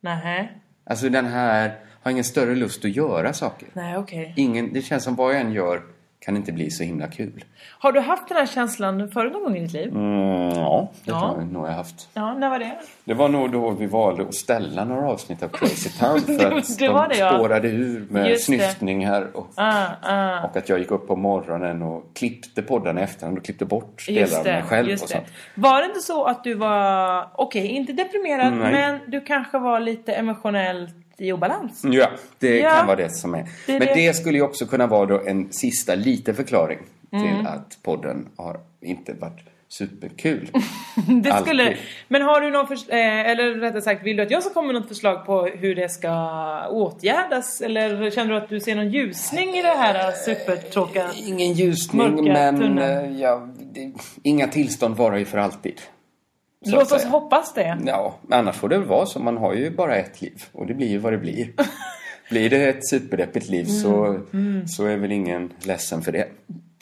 Nej.
Alltså den här har ingen större lust att göra saker.
Nej, okej.
Ingen, det känns som vad jag än gör kan inte bli så himla kul.
Har du haft den här känslan förut någon gång i ditt liv?
Mm. ja, det
Ja.
tror jag nog jag haft.
Ja, när var det?
Det var nog då vi valde att ställa några avsnitt av Crazy Town för att
Det var
de
det, ja.
spårade ur med
Just det.
snyftningar och,
Ah, ah.
och att jag gick upp på morgonen och klippte poddarna i efterhand och klippte bort delar av mig själv och sånt.
Var det inte så att du var, okej, inte deprimerad,
Nej.
men du kanske var lite emotionellt i obalans?
Ja, det
Ja.
kan vara det som är.
Det är
Men
det.
det skulle ju också kunna vara då en sista liten förklaring
Mm.
till att podden har inte varit superkul.
Det
Mm, Alltid.
skulle, men har du någon förs- eh, eller rättare sagt, vill du att jag ska komma med något förslag på hur det ska åtgärdas? Eller känner du att du ser någon ljusning i det här supertråkiga?
Ingen ljusning,
Mörka
men
tunneln.
eh, ja, det, inga tillstånd varar ju för alltid. så att
Låt oss
säga.
hoppas det.
Ja, men annars får det väl vara så. Man har ju bara ett liv och det blir ju vad det blir. blir det ett superdeppigt liv
Mm.
så, Mm. så är väl ingen ledsen för det.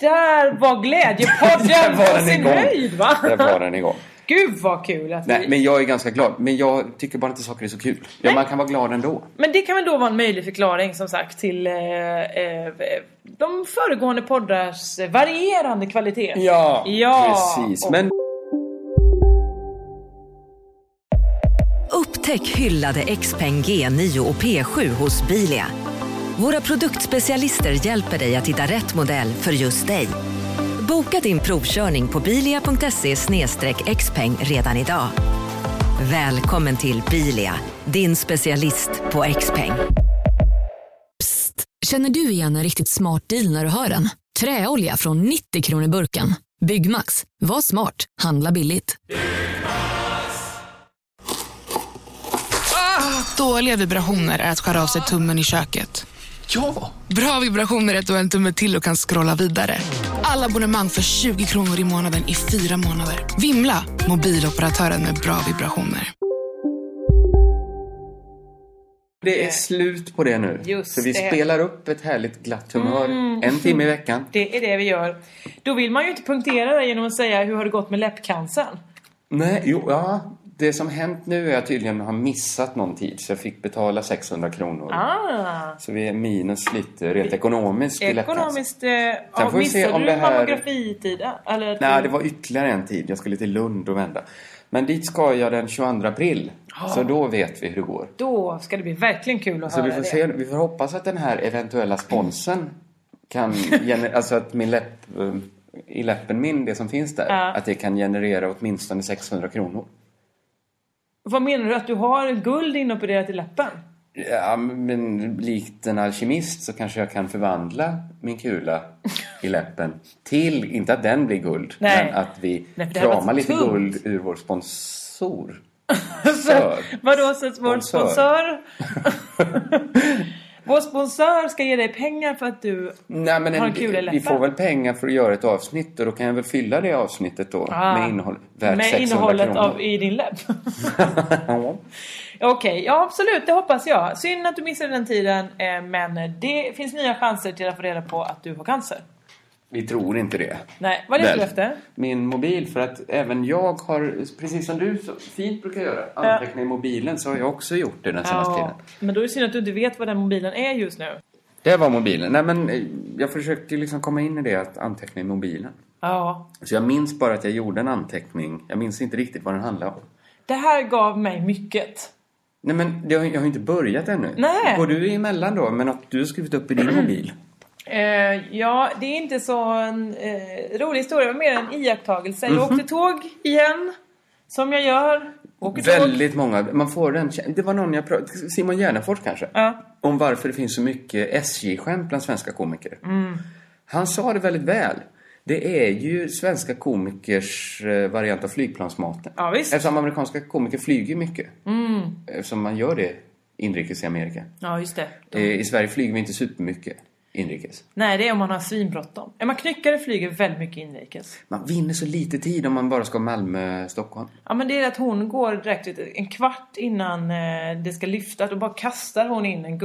Där var
Där
glädjepodden
var
på
den
sin
igång.
höjd va?
Där var den igång.
Gud vad kul att
Nej,
vi...
men jag är ganska glad. Men jag tycker bara inte saker är så kul. Ja, man kan vara glad ändå.
Men det kan väl då vara en möjlig förklaring som sagt till eh, eh, de föregående poddars varierande kvalitet.
Ja,
Ja,
precis.
och-
Men
Upptäck hyllade XPeng G9 och P7 hos Bilia. Våra produktspecialister hjälper dig att hitta rätt modell för just dig. Boka din provkörning på bilia.se xpeng redan idag. Välkommen till Bilia, din specialist på XPeng.
Känner du igen en riktigt smart deal när du hör den? Träolja från 90 kronor burken. Byggmax. Var smart. Handla billigt.
Dåliga vibrationer är att skära av sig tummen i köket.
Ja!
Bra vibrationer är att du har en tumme till och kan scrolla vidare. Alla abonnemang för 20 kronor i månaden i fyra månader. Vimla! Mobiloperatören med bra vibrationer.
Det är slut på det nu.
Just
så vi
det.
spelar upp ett härligt glatt humör
Mm.
en timme i veckan.
Det är det vi gör. Då vill man ju inte punktera det genom att säga hur har det gått med läppcancern?
Nej, jo, ja. Det som hänt nu är att tydligen har missat någon tid så jag fick betala 600 kronor.
Ah,
Så vi är minus lite rent ekonomiskt i lättnads.
ekonomiskt... Eh, ja,
får vi se
missar
om
du
det här-
mammografitid? Eller
Nej, det var ytterligare en tid. Jag skulle till Lund och vända. Men dit ska jag den 22 april.
Ah.
Så då vet vi hur det går.
Då ska det bli verkligen kul att
Så
höra
vi får,
det.
se, vi får hoppas att den här eventuella sponsen kan gener- alltså att min läpp, eh, i läppen min, det som finns där,
Ja.
att det kan generera åtminstone 600 kronor.
Vad menar du? Att du har guld inopererat i läppen?
Ja, men likt en alkemist så kanske jag kan förvandla min kula i läppen till, inte att den blir guld,
Nej.
men att vi
Nej, för det här var
kramar
så
lite
tungt.
guld ur vår sponsor.
Så, vadå, så att vår
Sponsor.
sponsor... vår sponsor ska ge dig pengar för att du
Nej, men
har
en,
en kul i läppen?
vi får väl pengar för att göra ett avsnitt och då kan jag väl fylla det avsnittet då
Ah.
med innehåll värt
Med
600
innehållet
kronor.
av, i din läpp? Okej, ja absolut, det hoppas jag. Synd att du missade den tiden, eh, men det finns nya chanser till att få reda på att du har cancer.
Vi tror inte det.
Nej, vad är det för
Väl.
löfte?
Min mobil, för att även jag har, precis som du så fint brukar göra,
Ja.
anteckna i mobilen så har jag också gjort det den senaste tiden.
men då är det synd att du inte vet vad den mobilen är just nu.
Det var mobilen. Nej, men eh, jag försökte ju liksom komma in i det att anteckna i mobilen.
Ja.
Så jag minns bara att jag gjorde en anteckning. Jag minns inte riktigt vad den handlade om.
Det här gav mig mycket.
Nej, men det har, jag har ju inte börjat ännu.
Nej.
Går du emellan då? Men att du har skrivit upp i din mobil.
Eh, ja, det är inte så en eh, rolig historia, men mer en iakttagelse. Jag
Mhm.
åkte tåg igen, som jag gör. Åker tåg.
Väldigt många. Man får den kä- Det var någon jag pratade Simon Gärdenfors kanske?
Ja.
Om varför det finns så mycket SJ-skämt bland svenska komiker.
Mm.
Han sa det väldigt väl. Det är ju svenska komikers eh, variant av flygplansmaten.
Ja, visst.
Eftersom amerikanska komiker flyger mycket.
Mm.
Eftersom man gör det inrikes i Amerika.
Ja, just det.
Eh, I Sverige flyger vi inte supermycket inrikes.
Nej, det är om man har svinbråttom. Är man knyckare flyger väldigt mycket inrikes.
Man vinner så lite tid om man bara ska Malmö-Stockholm.
Ja, men det är att hon går direkt ut en kvart innan eh, det ska lyftas. Då bara kastar hon in en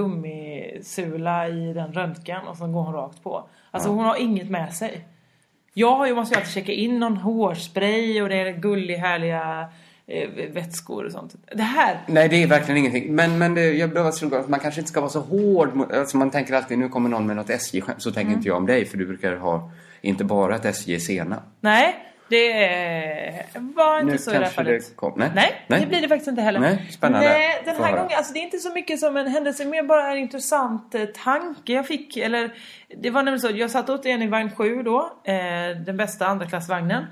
gummisula i den röntgen och sen går hon rakt på. Alltså
Ja.
hon har inget med sig. Jag har ju- måste ju alltid checka in någon hårspray och det är gullig härliga eh, vätskor och sånt. Det här
Nej, det är verkligen ingenting. Men, men det, jag behöver slå att man kanske inte ska vara så hård. mot- Alltså man tänker alltid, nu kommer någon med något SJ-skämt. Så tänker
Mm.
inte jag om dig, för du brukar ha inte bara att SJ är sena.
Nej, det eh, var inte
nu
så i det här fallet.
det kom. Nej,
Nej, det blir det faktiskt inte heller.
Nej, spännande.
Nej, den
Få
här
höra.
gången, alltså det är inte så mycket som en händelse, mer bara en intressant eh, tanke jag fick. Eller, det var nämligen så, jag satt återigen i vagn 7 då, eh, den bästa andraklassvagnen.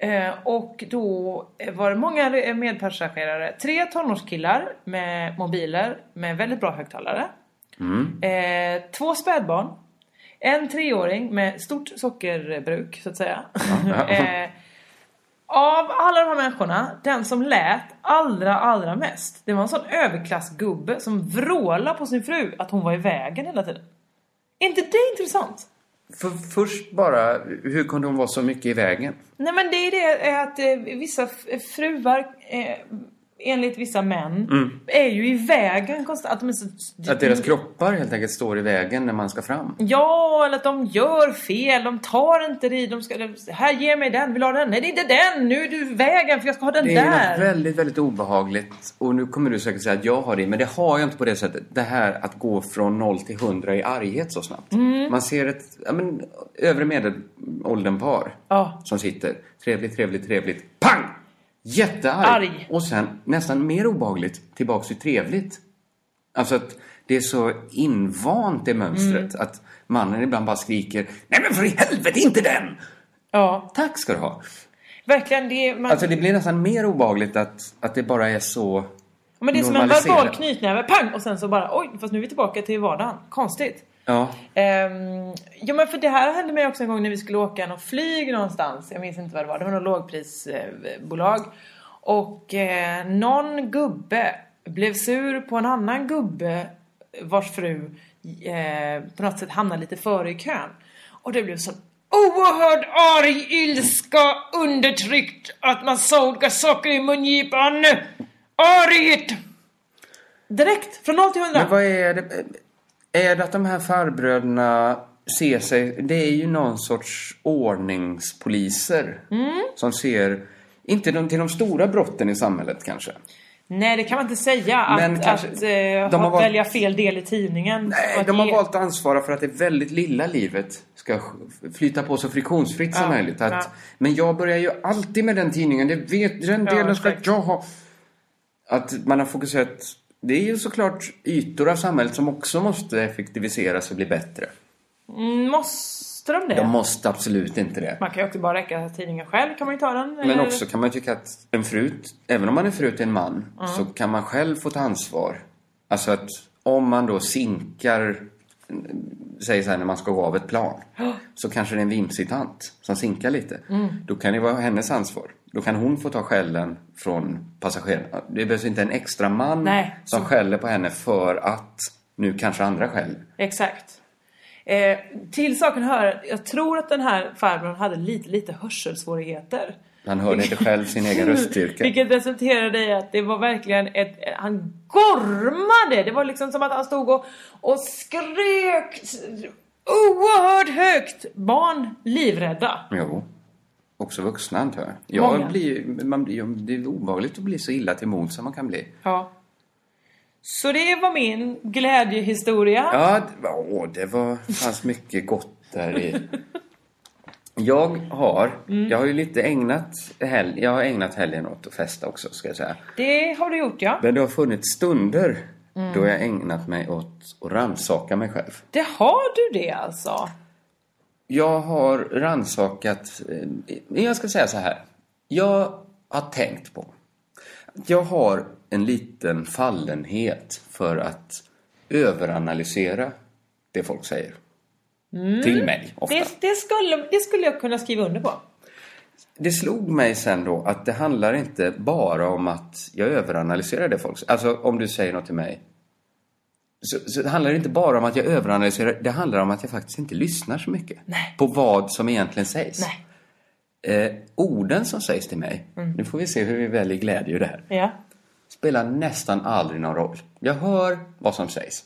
Eh, och då eh, var det många eh, medpassagerare, tre tonårskillar med mobiler med väldigt bra högtalare.
Mm.
Eh, två spädbarn. En treåring med stort sockerbruk så att säga. eh, av alla de här människorna, den som lät allra allra mest. Det var en sån överklassgubbe som vrålade på sin fru att hon var i vägen hela tiden. Är inte det intressant?
För, först bara, hur kunde hon vara så mycket i vägen?
Nej men det är det eh, att eh, vissa f- fruar, eh, enligt vissa män,
Mm.
är ju i vägen konstant. Att de är så...
Att
Mm.
deras kroppar helt enkelt står i vägen när man ska fram.
Ja, eller att de gör fel, de tar inte i, de ska... de- Här, ge mig den, vill du ha den? Nej, det är inte den! Nu är du i vägen för jag ska ha den
Det är något
där!
väldigt, väldigt obehagligt. Och nu kommer du säkert säga att jag har det, men det har jag inte på det sättet. Det här att gå från 0 till 100 i arghet så snabbt.
Mm.
Man ser ett ja, men, övre medelåldern-par
Ja.
som sitter. Trevligt, trevligt, trevligt. Pang! Jättearg!
Arg.
Och sen nästan mer obehagligt tillbaks till trevligt. Alltså att det är så invant det mönstret att mannen ibland bara skriker Nej men för i helvete inte den!
Ja.
Tack ska du ha.
Verkligen, det är... Man...
Alltså det blir nästan mer obehagligt att, att det bara är så
Men det är som en
normaliserat.
verbal knytnäve, pang! Och sen så bara, oj, fast nu är vi tillbaka till vardagen. Konstigt.
Ja.
Ehm, ja men för det här hände mig också en gång när vi skulle åka någon flyg någonstans. Jag minns inte vad det var. Det var något lågprisbolag. Och eh, någon gubbe blev sur på en annan gubbe vars fru eh, på något sätt hamnade lite före i kön. Och det blev så oerhörd arg ilska undertryckt att man sa olika saker i mungipan. Arigt! Direkt, från 0 till 100.
Men vad är det? Är det att de här farbröderna ser sig... Det är ju någon sorts ordningspoliser
Mm.
som ser... Inte de, till de stora brotten i samhället kanske.
Nej, det kan man inte säga att,
Men kanske-
att, eh,
de har
ha-
valt-
välja fel del i tidningen.
Nej,
Och att
de har
ge-
valt att ansvara för att det väldigt lilla livet ska flyta på så friktionsfritt som
Ja,
möjligt. Att,
ja.
Men jag börjar ju alltid med den tidningen, det vet, den
Ja,
delen ska jag ha. Att man har fokuserat, det är ju såklart ytor av samhället som också måste effektiviseras och bli bättre.
Mm, Måste de det?
De måste absolut inte det.
Man kan ju också bara räcka tidningen själv, kan man ju ta den.
Men också kan man tycka att en frut, även om man är frut till en man,
Ja.
så kan man själv få ta ansvar. Alltså att om man då sinkar, säg så här när man ska gå av ett plan, så kanske det är en vimsitant som sinkar lite.
Mm.
Då kan det vara hennes ansvar. Då kan hon få ta skällen från passagerarna. Det behövs inte en extra man
Nej,
som
så-
skäller på henne för att nu kanske andra skäller.
Exakt. Eh, till saken hör, jag tror att den här farbrorn hade lite, lite hörselsvårigheter.
Han hörde inte själv sin egen röststyrka.
Vilket resulterade i att det var verkligen ett... Han gormade! Det var liksom som att han stod och, och skrek s- oerhört högt. Barn livrädda.
Jo. Också vuxna antar jag. jag
Många.
blir, ju- man blir, ju- det är obehagligt att bli så illa till mod som man kan bli.
Ja. Så det var min glädjehistoria.
Ja, det, var- åh, det var, fanns mycket gott där i. Jag har,
Mm.
jag har ju lite ägnat, hel, jag har ägnat helgen åt att festa också ska jag säga.
Det har du gjort ja.
Men det har funnits stunder
Mm.
då jag ägnat mig åt att rannsaka mig själv.
Det har du det alltså?
Jag har rannsakat... eh, Jag ska säga så här. Jag har tänkt på att jag har en liten fallenhet för att överanalysera det folk säger.
Mm.
Till mig, ofta.
Det, det, skulle, det skulle jag kunna skriva under på.
Det slog mig sen då att det handlar inte bara om att jag överanalyserar det folk säger. Alltså om du säger något till mig. Så, så det handlar inte bara om att jag överanalyserar. Det handlar om att jag faktiskt inte lyssnar så mycket. På vad som egentligen sägs. Eh, orden som sägs till mig.
Mm.
Nu får vi se hur vi väljer glädje ur det här.
Ja.
Spelar nästan aldrig någon roll. Jag hör vad som sägs.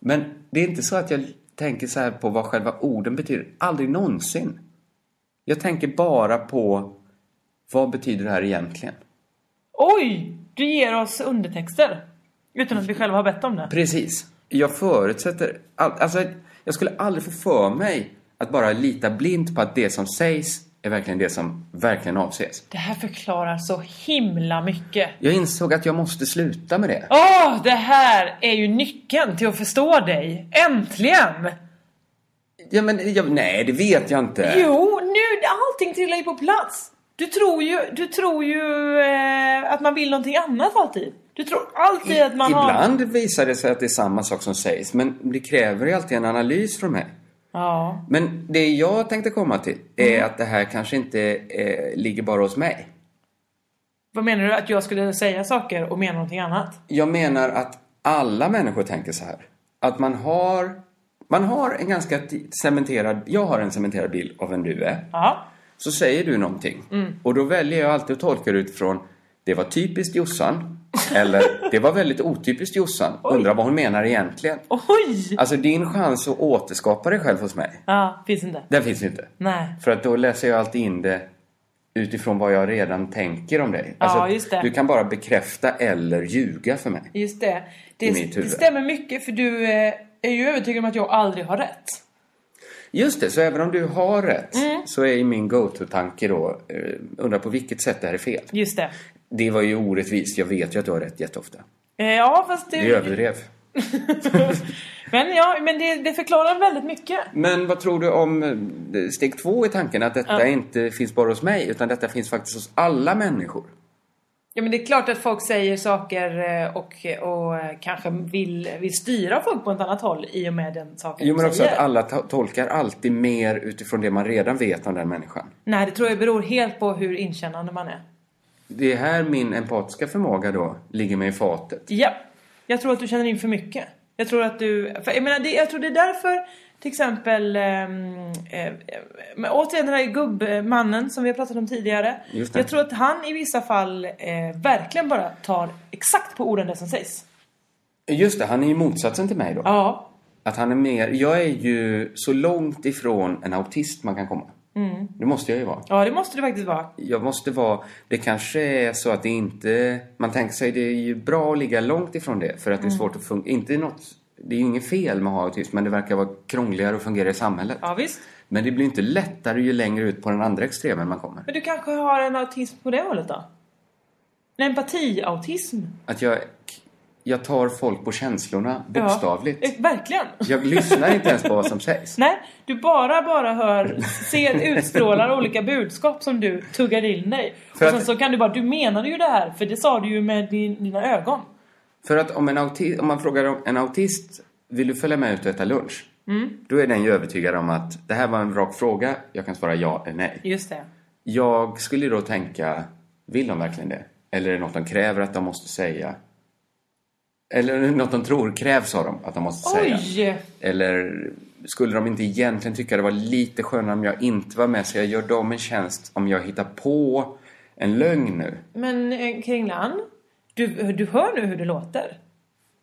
Men det är inte så att jag tänker så här på vad själva orden betyder. Aldrig någonsin. Jag tänker bara på vad betyder det här egentligen?
Oj! Du ger oss undertexter. Utan att vi själva har bett om det.
Precis. Jag förutsätter... All, alltså, jag skulle aldrig få för mig att bara lita blint på att det som sägs är verkligen det som verkligen avses.
Det här förklarar så himla mycket.
Jag insåg att jag måste sluta med det.
Åh, det här är ju nyckeln till att förstå dig. Äntligen!
Ja, men, jag, nej, det vet jag inte.
Jo, nu allting trillar ju på plats. Du tror ju, du tror ju eh, att man vill någonting annat alltid. Du tror alltid att man har...
Ibland visar det sig att det är samma sak som sägs, men det kräver ju alltid en analys från mig.
Ja.
Men det jag tänkte komma till är att det här kanske inte eh, ligger bara hos mig.
Vad menar du? Att jag skulle säga saker och mena någonting annat?
Jag menar att alla människor tänker så här. Att man har, man har en ganska t- cementerad, jag har en cementerad bild av vem du är.
Ja.
Så säger du någonting.
Mm.
Och då väljer jag alltid att tolka det utifrån det var typiskt Jossan. Eller det var väldigt otypiskt Jossan. Undrar vad hon menar egentligen.
Oj!
Alltså din chans att återskapa dig själv hos mig,
Ja, finns inte.
den finns ju inte.
Nej.
För att då läser jag alltid in det utifrån vad jag redan tänker om dig.
Ja,
Alltså,
just det.
Du kan bara bekräfta eller ljuga för mig.
Just det.
I
Det,
mitt
det
huvud.
stämmer mycket för du eh, är ju övertygad om att jag aldrig har rätt.
Just det, så även om du har rätt
Mm.
så är ju min go-to-tanke då, eh, undrar på vilket sätt det här är fel.
Just det.
Det var ju orättvist, jag vet ju att du har rätt jätteofta.
Eh, ja, fast det...
Du överdrev.
Men, ja, men det, det förklarar väldigt mycket.
Men vad tror du om eh, steg två i tanken, att detta
Ja.
inte finns bara hos mig utan detta finns faktiskt hos alla människor?
Ja, men det är klart att folk säger saker eh, och, och eh, kanske vill, vill styra folk på ett annat håll i och med den saken
Jo
de
men också
säger.
att alla to- tolkar alltid mer utifrån det man redan vet om den människan.
Nej, det tror jag beror helt på hur inkännande man är.
det är här min empatiska förmåga då ligger mig i fatet.
Ja, jag tror att du känner in för mycket. Jag tror att du, för jag menar det, jag tror det är därför till exempel, ehm, eh, men återigen den här gubbmannen som vi har pratat om tidigare.
Just det.
Jag tror att han i vissa fall eh, verkligen bara tar exakt på orden det som sägs.
Just det, han är ju motsatsen till mig då.
Ja.
Att han är mer... Jag är ju så långt ifrån en autist man kan komma.
Mm.
Det måste jag ju vara.
Ja, det måste det faktiskt vara.
Jag måste vara... Det kanske är så att det inte... Man tänker sig det är ju bra att ligga långt ifrån det för att det är
Mm.
svårt att fungera. Inte något... Det är ju inget fel med att ha autism men det verkar vara krångligare att fungera i samhället.
Ja, visst.
Men det blir inte lättare ju längre ut på den andra extremen man kommer.
Men du kanske har en autism på det hållet då? En empatiautism?
Att jag... Jag tar folk på känslorna bokstavligt.
Ja, eh, verkligen.
Jag lyssnar inte ens på vad som sägs.
Nej, du bara, bara hör, ser, utstrålar olika budskap som du tuggar in dig.
För
och sen
att-
så kan du bara, du menade ju det här, för det sa du ju med din, dina ögon.
För att om, en auti- om man frågar en autist, vill du följa med ut och äta lunch?
Mm.
Då är den ju övertygad om att det här var en rak fråga, jag kan svara ja eller nej.
Just det.
Jag skulle då tänka, vill de verkligen det? Eller är det något de kräver att de måste säga? Eller är det något de tror krävs av dem att de måste säga?
Oj!
Eller skulle de inte egentligen tycka det var lite skönare om jag inte var med så jag gör dem en tjänst om jag hittar på en lögn nu?
Men eh, Kringlan, du, du hör nu hur det låter.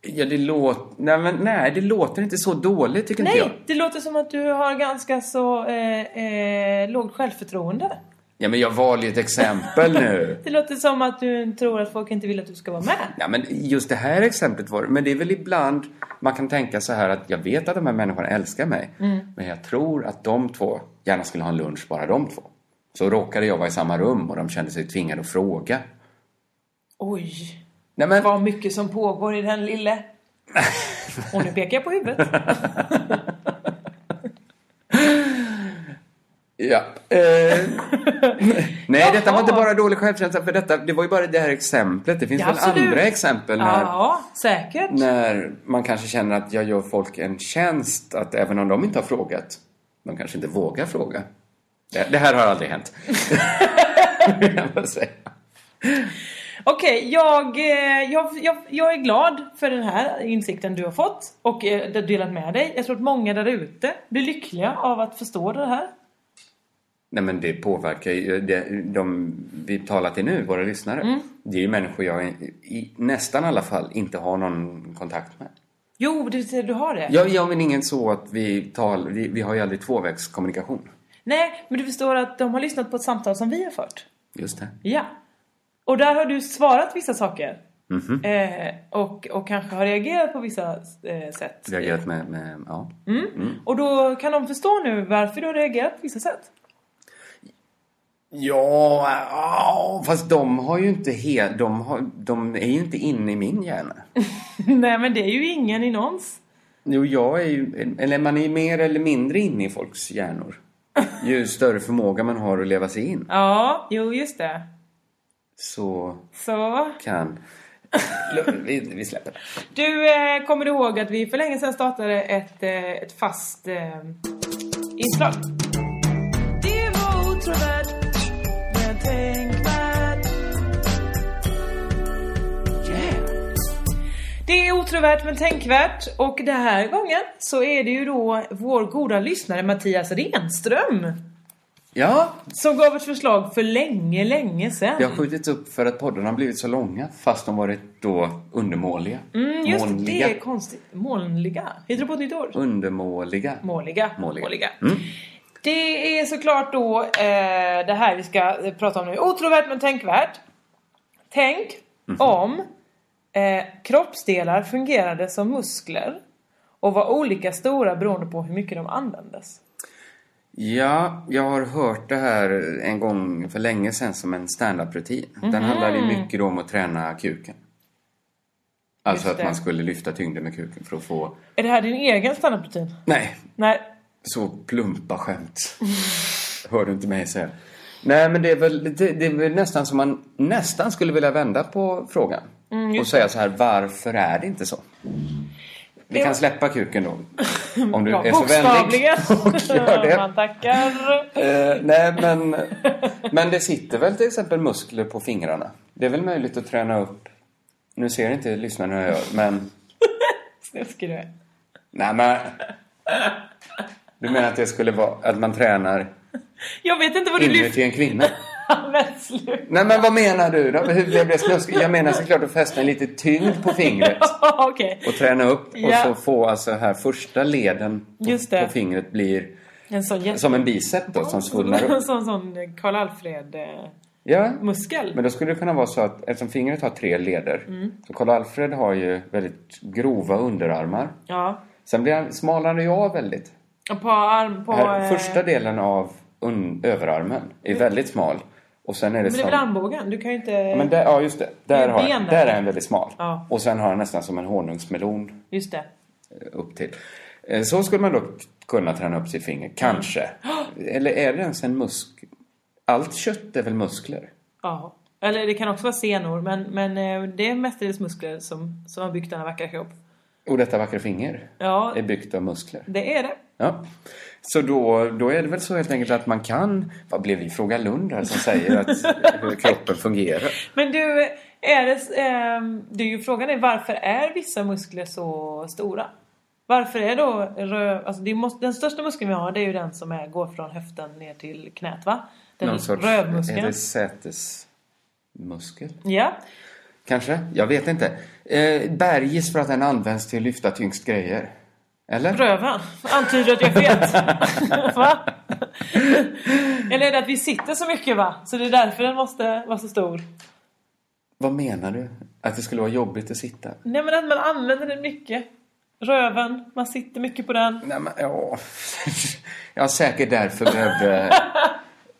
Ja, det låter... Nej, men nej, det låter inte så dåligt tycker inte jag.
Nej, det låter som att du har ganska så eh, eh, lågt självförtroende.
Ja, men jag valde ju ett exempel nu.
Det låter som att du tror att folk inte vill att du ska vara med.
Ja, men just det här exemplet var Men det är väl ibland man kan tänka så här att jag vet att de här människorna älskar mig.
Mm.
Men jag tror att de två gärna skulle ha en lunch, bara de två. Så råkade jag vara i samma rum och de kände sig tvingade att fråga.
Oj,
Nej, men...
vad mycket som pågår i den lille. Och nu pekar jag på huvudet.
Ja. Eh... Nej, detta var inte bara dålig självkänsla för detta. Det var ju bara det här exemplet. Det finns
Ja,
väl
absolut.
andra exempel när,
Ja, säkert.
när man kanske känner att jag gör folk en tjänst att även om de inte har frågat, de kanske inte vågar fråga. Det, det här har aldrig hänt. Jag bara säger.
Okej, jag, eh, jag, jag, jag är glad för den här insikten du har fått och eh, du har delat med dig. Jag tror att många där ute blir lyckliga av att förstå det här.
Nej men det påverkar ju det, de vi talar till nu, våra lyssnare.
Mm.
Det är ju människor jag i, i nästan alla fall inte har någon kontakt med.
Jo, du, du har det.
Jag, jag men ingen så att vi tal, vi, vi har ju aldrig tvåvägskommunikation.
Nej, men du förstår att de har lyssnat på ett samtal som vi har fört.
Just det.
Ja. Och där har du svarat vissa saker.
Mhm.
Eh, och, och kanske har reagerat på vissa eh, sätt.
Reagerat med, med, ja.
Mm.
Mm.
Och då kan de förstå nu varför du har reagerat på vissa sätt.
Ja, ja, fast de har ju inte helt, de, har, de är ju inte inne i min hjärna.
Nej, men det är ju ingen i någons.
Jo, jag är ju, eller man är ju mer eller mindre inne i folks hjärnor. Ju större förmåga man har att leva sig in
Ja, jo just det.
så
Så.
kan... Vi, vi släpper det.
Du, eh, kommer du ihåg att vi för länge sedan startade ett, eh, ett fast eh, inslag? Det var otrovärt, men tänkvärt. Det är otrovärt men tänkvärt och den här gången så är det ju då vår goda lyssnare Mattias Renström
Ja,
som gav ett förslag för länge, länge sedan.
det har skjutits upp för att poddarna har blivit så långa fast de varit då undermåliga.
Mm, just det,
Månliga.
det är konstigt. Molnliga. Heter det på ett nytt ord?
Undermåliga.
Måliga.
Måliga.
Måliga.
Mm.
Det är såklart då eh, det här vi ska eh, prata om nu. Otrovärt men tänkvärt. Tänk
Mhm.
om eh, kroppsdelar fungerade som muskler och var olika stora beroende på hur mycket de användes.
Ja, jag har hört det här en gång för länge sedan som en standup-rutin. Den
Mhm.
handlade ju mycket om att träna kuken. Alltså
Just
att man
det.
skulle lyfta tyngden med kuken för att få...
Är det här din egen standup-rutin?
Nej,
Nej.
så plumpa skämt. Hör du inte mig säga. Nej, men det är väl, det, det är väl nästan som man nästan skulle vilja vända på frågan.
Mm,
och
just
säga så här, varför är det inte så? Vi kan släppa kuken då. Om du
Ja,
är så vänlig.
bokstavligen.
gör det.
Man tackar.
Eh, nej, men, men det sitter väl till exempel muskler på fingrarna? Det är väl möjligt att träna upp... Nu ser inte lyssnarna hur jag gör, men...
Snuskig du är.
Nej, men... Du menar att det skulle vara att man tränar
Jag vet inte vad du lyfter.
inuti en kvinna?
Men sluta.
Nej, men vad menar du då? Hur blev det snuskigt? Jag menar såklart att fästa lite tyngd på fingret
Okej.
och träna upp och
Ja.
så få alltså här första leden på,
Just det.
på fingret blir
En sån jätte...
som en bicep då, som svullnar
En
upp.
sån, sån Karl Alfred eh,
Ja,
muskel.
Men då skulle det kunna vara så att eftersom fingret har tre leder
Mm.
så Karl-Alfred har ju väldigt grova underarmar.
Ja.
Sen blir han, smalnar han ju av väldigt.
Och På arm... På...
här,
eh, Mm.
Första delen av un, överarmen är väldigt smal. Och sen är det
men det är
som...
väl armbågen? Du kan ju inte...
Ja, men där, ja just det.
Det
Där,
är
har,
ben
han-
där.
där är han väldigt smal.
Ja.
Och sen har han nästan som en honungsmelon
Just det.
eh, upp till. Eh, Så skulle man dock kunna träna upp sitt finger, kanske.
Mm.
Eller är det ens en musk... Allt kött är väl muskler?
Ja. Eller det kan också vara senor. Men, men eh, det är mestadels muskler som, som har byggt denna vackra kropp.
Och detta vackra finger
Ja.
är byggt av muskler.
Det är det.
Ja. Så då, då är det väl så helt enkelt att man kan... Vad blev vi? Fråga Lund här som säger att hur kroppen fungerar.
Men du, är det, ehm, det är ju frågan är varför är vissa muskler så stora? Varför är då rö, alltså det måste, den största muskeln vi har det är ju den som är, går från höften ner till knät va? Den
Någon sorts... Är
rövmuskeln.
det sätesmuskel?
Ja,
Kanske? Jag vet inte. Eh, bergis för att den används till att lyfta tyngst grejer. Eller?
röven. Antyder att jag vet. va? Eller är det att vi sitter så mycket va? Så det är därför den måste vara så stor.
Vad menar du? Att det skulle vara jobbigt att sitta?
Nej men att man använder den mycket. Röven, man sitter mycket på den.
Nej men, ja... ja, säkert därför behövde...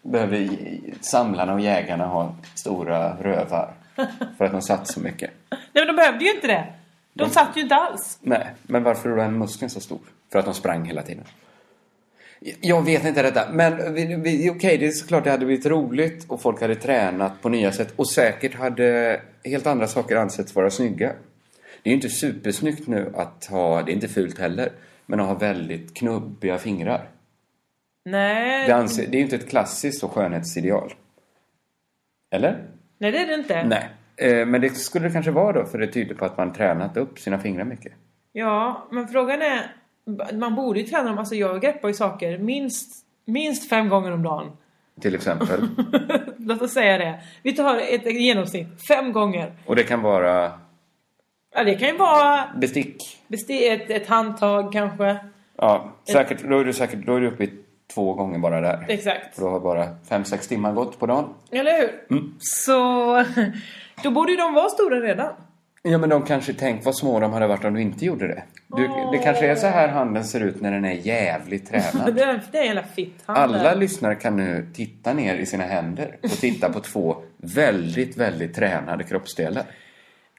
behövde j- samlarna och jägarna ha stora rövar. För att de satt så mycket.
Nej men de behövde ju inte det. De satt ju inte alls.
Nej, men varför är då den muskeln så stor? För att de sprang hela tiden. Jag- Jag vet inte detta, men vi, vi, okej, det är såklart det hade blivit roligt och folk hade tränat på nya sätt och säkert hade helt andra saker ansetts vara snygga. Det är ju inte supersnyggt nu att ha, det är inte fult heller, men att ha väldigt knubbiga fingrar.
Nej.
Det, anser, det är ju inte ett klassiskt och skönhetsideal. Eller?
Nej det är det inte.
Nej. Eh, Men det skulle det kanske vara då, för det tyder på att man tränat upp sina fingrar mycket.
Ja, men frågan är... Man borde ju träna dem. Alltså jag greppar ju saker minst, minst fem gånger om dagen.
Till exempel.
Låt oss säga det. Vi tar ett genomsnitt. Fem gånger.
Och det kan vara
Ja, det kan ju vara
bestick.
besti- ett, ett handtag kanske.
Ja, säkert, då är du säkert då är du uppe i två gånger bara där.
Exakt.
För då har bara fem, sex timmar gått på dagen.
Eller hur?
Mm.
Så... Då borde ju de vara stora redan.
Ja, men de kanske tänk vad små de hade varit om du inte gjorde det. Du, Det kanske är så här handen ser ut när den är jävligt tränad.
Det är det är en jävla fitthand.
Alla
där.
lyssnare kan nu titta ner i sina händer och titta på två väldigt, väldigt tränade kroppsdelar.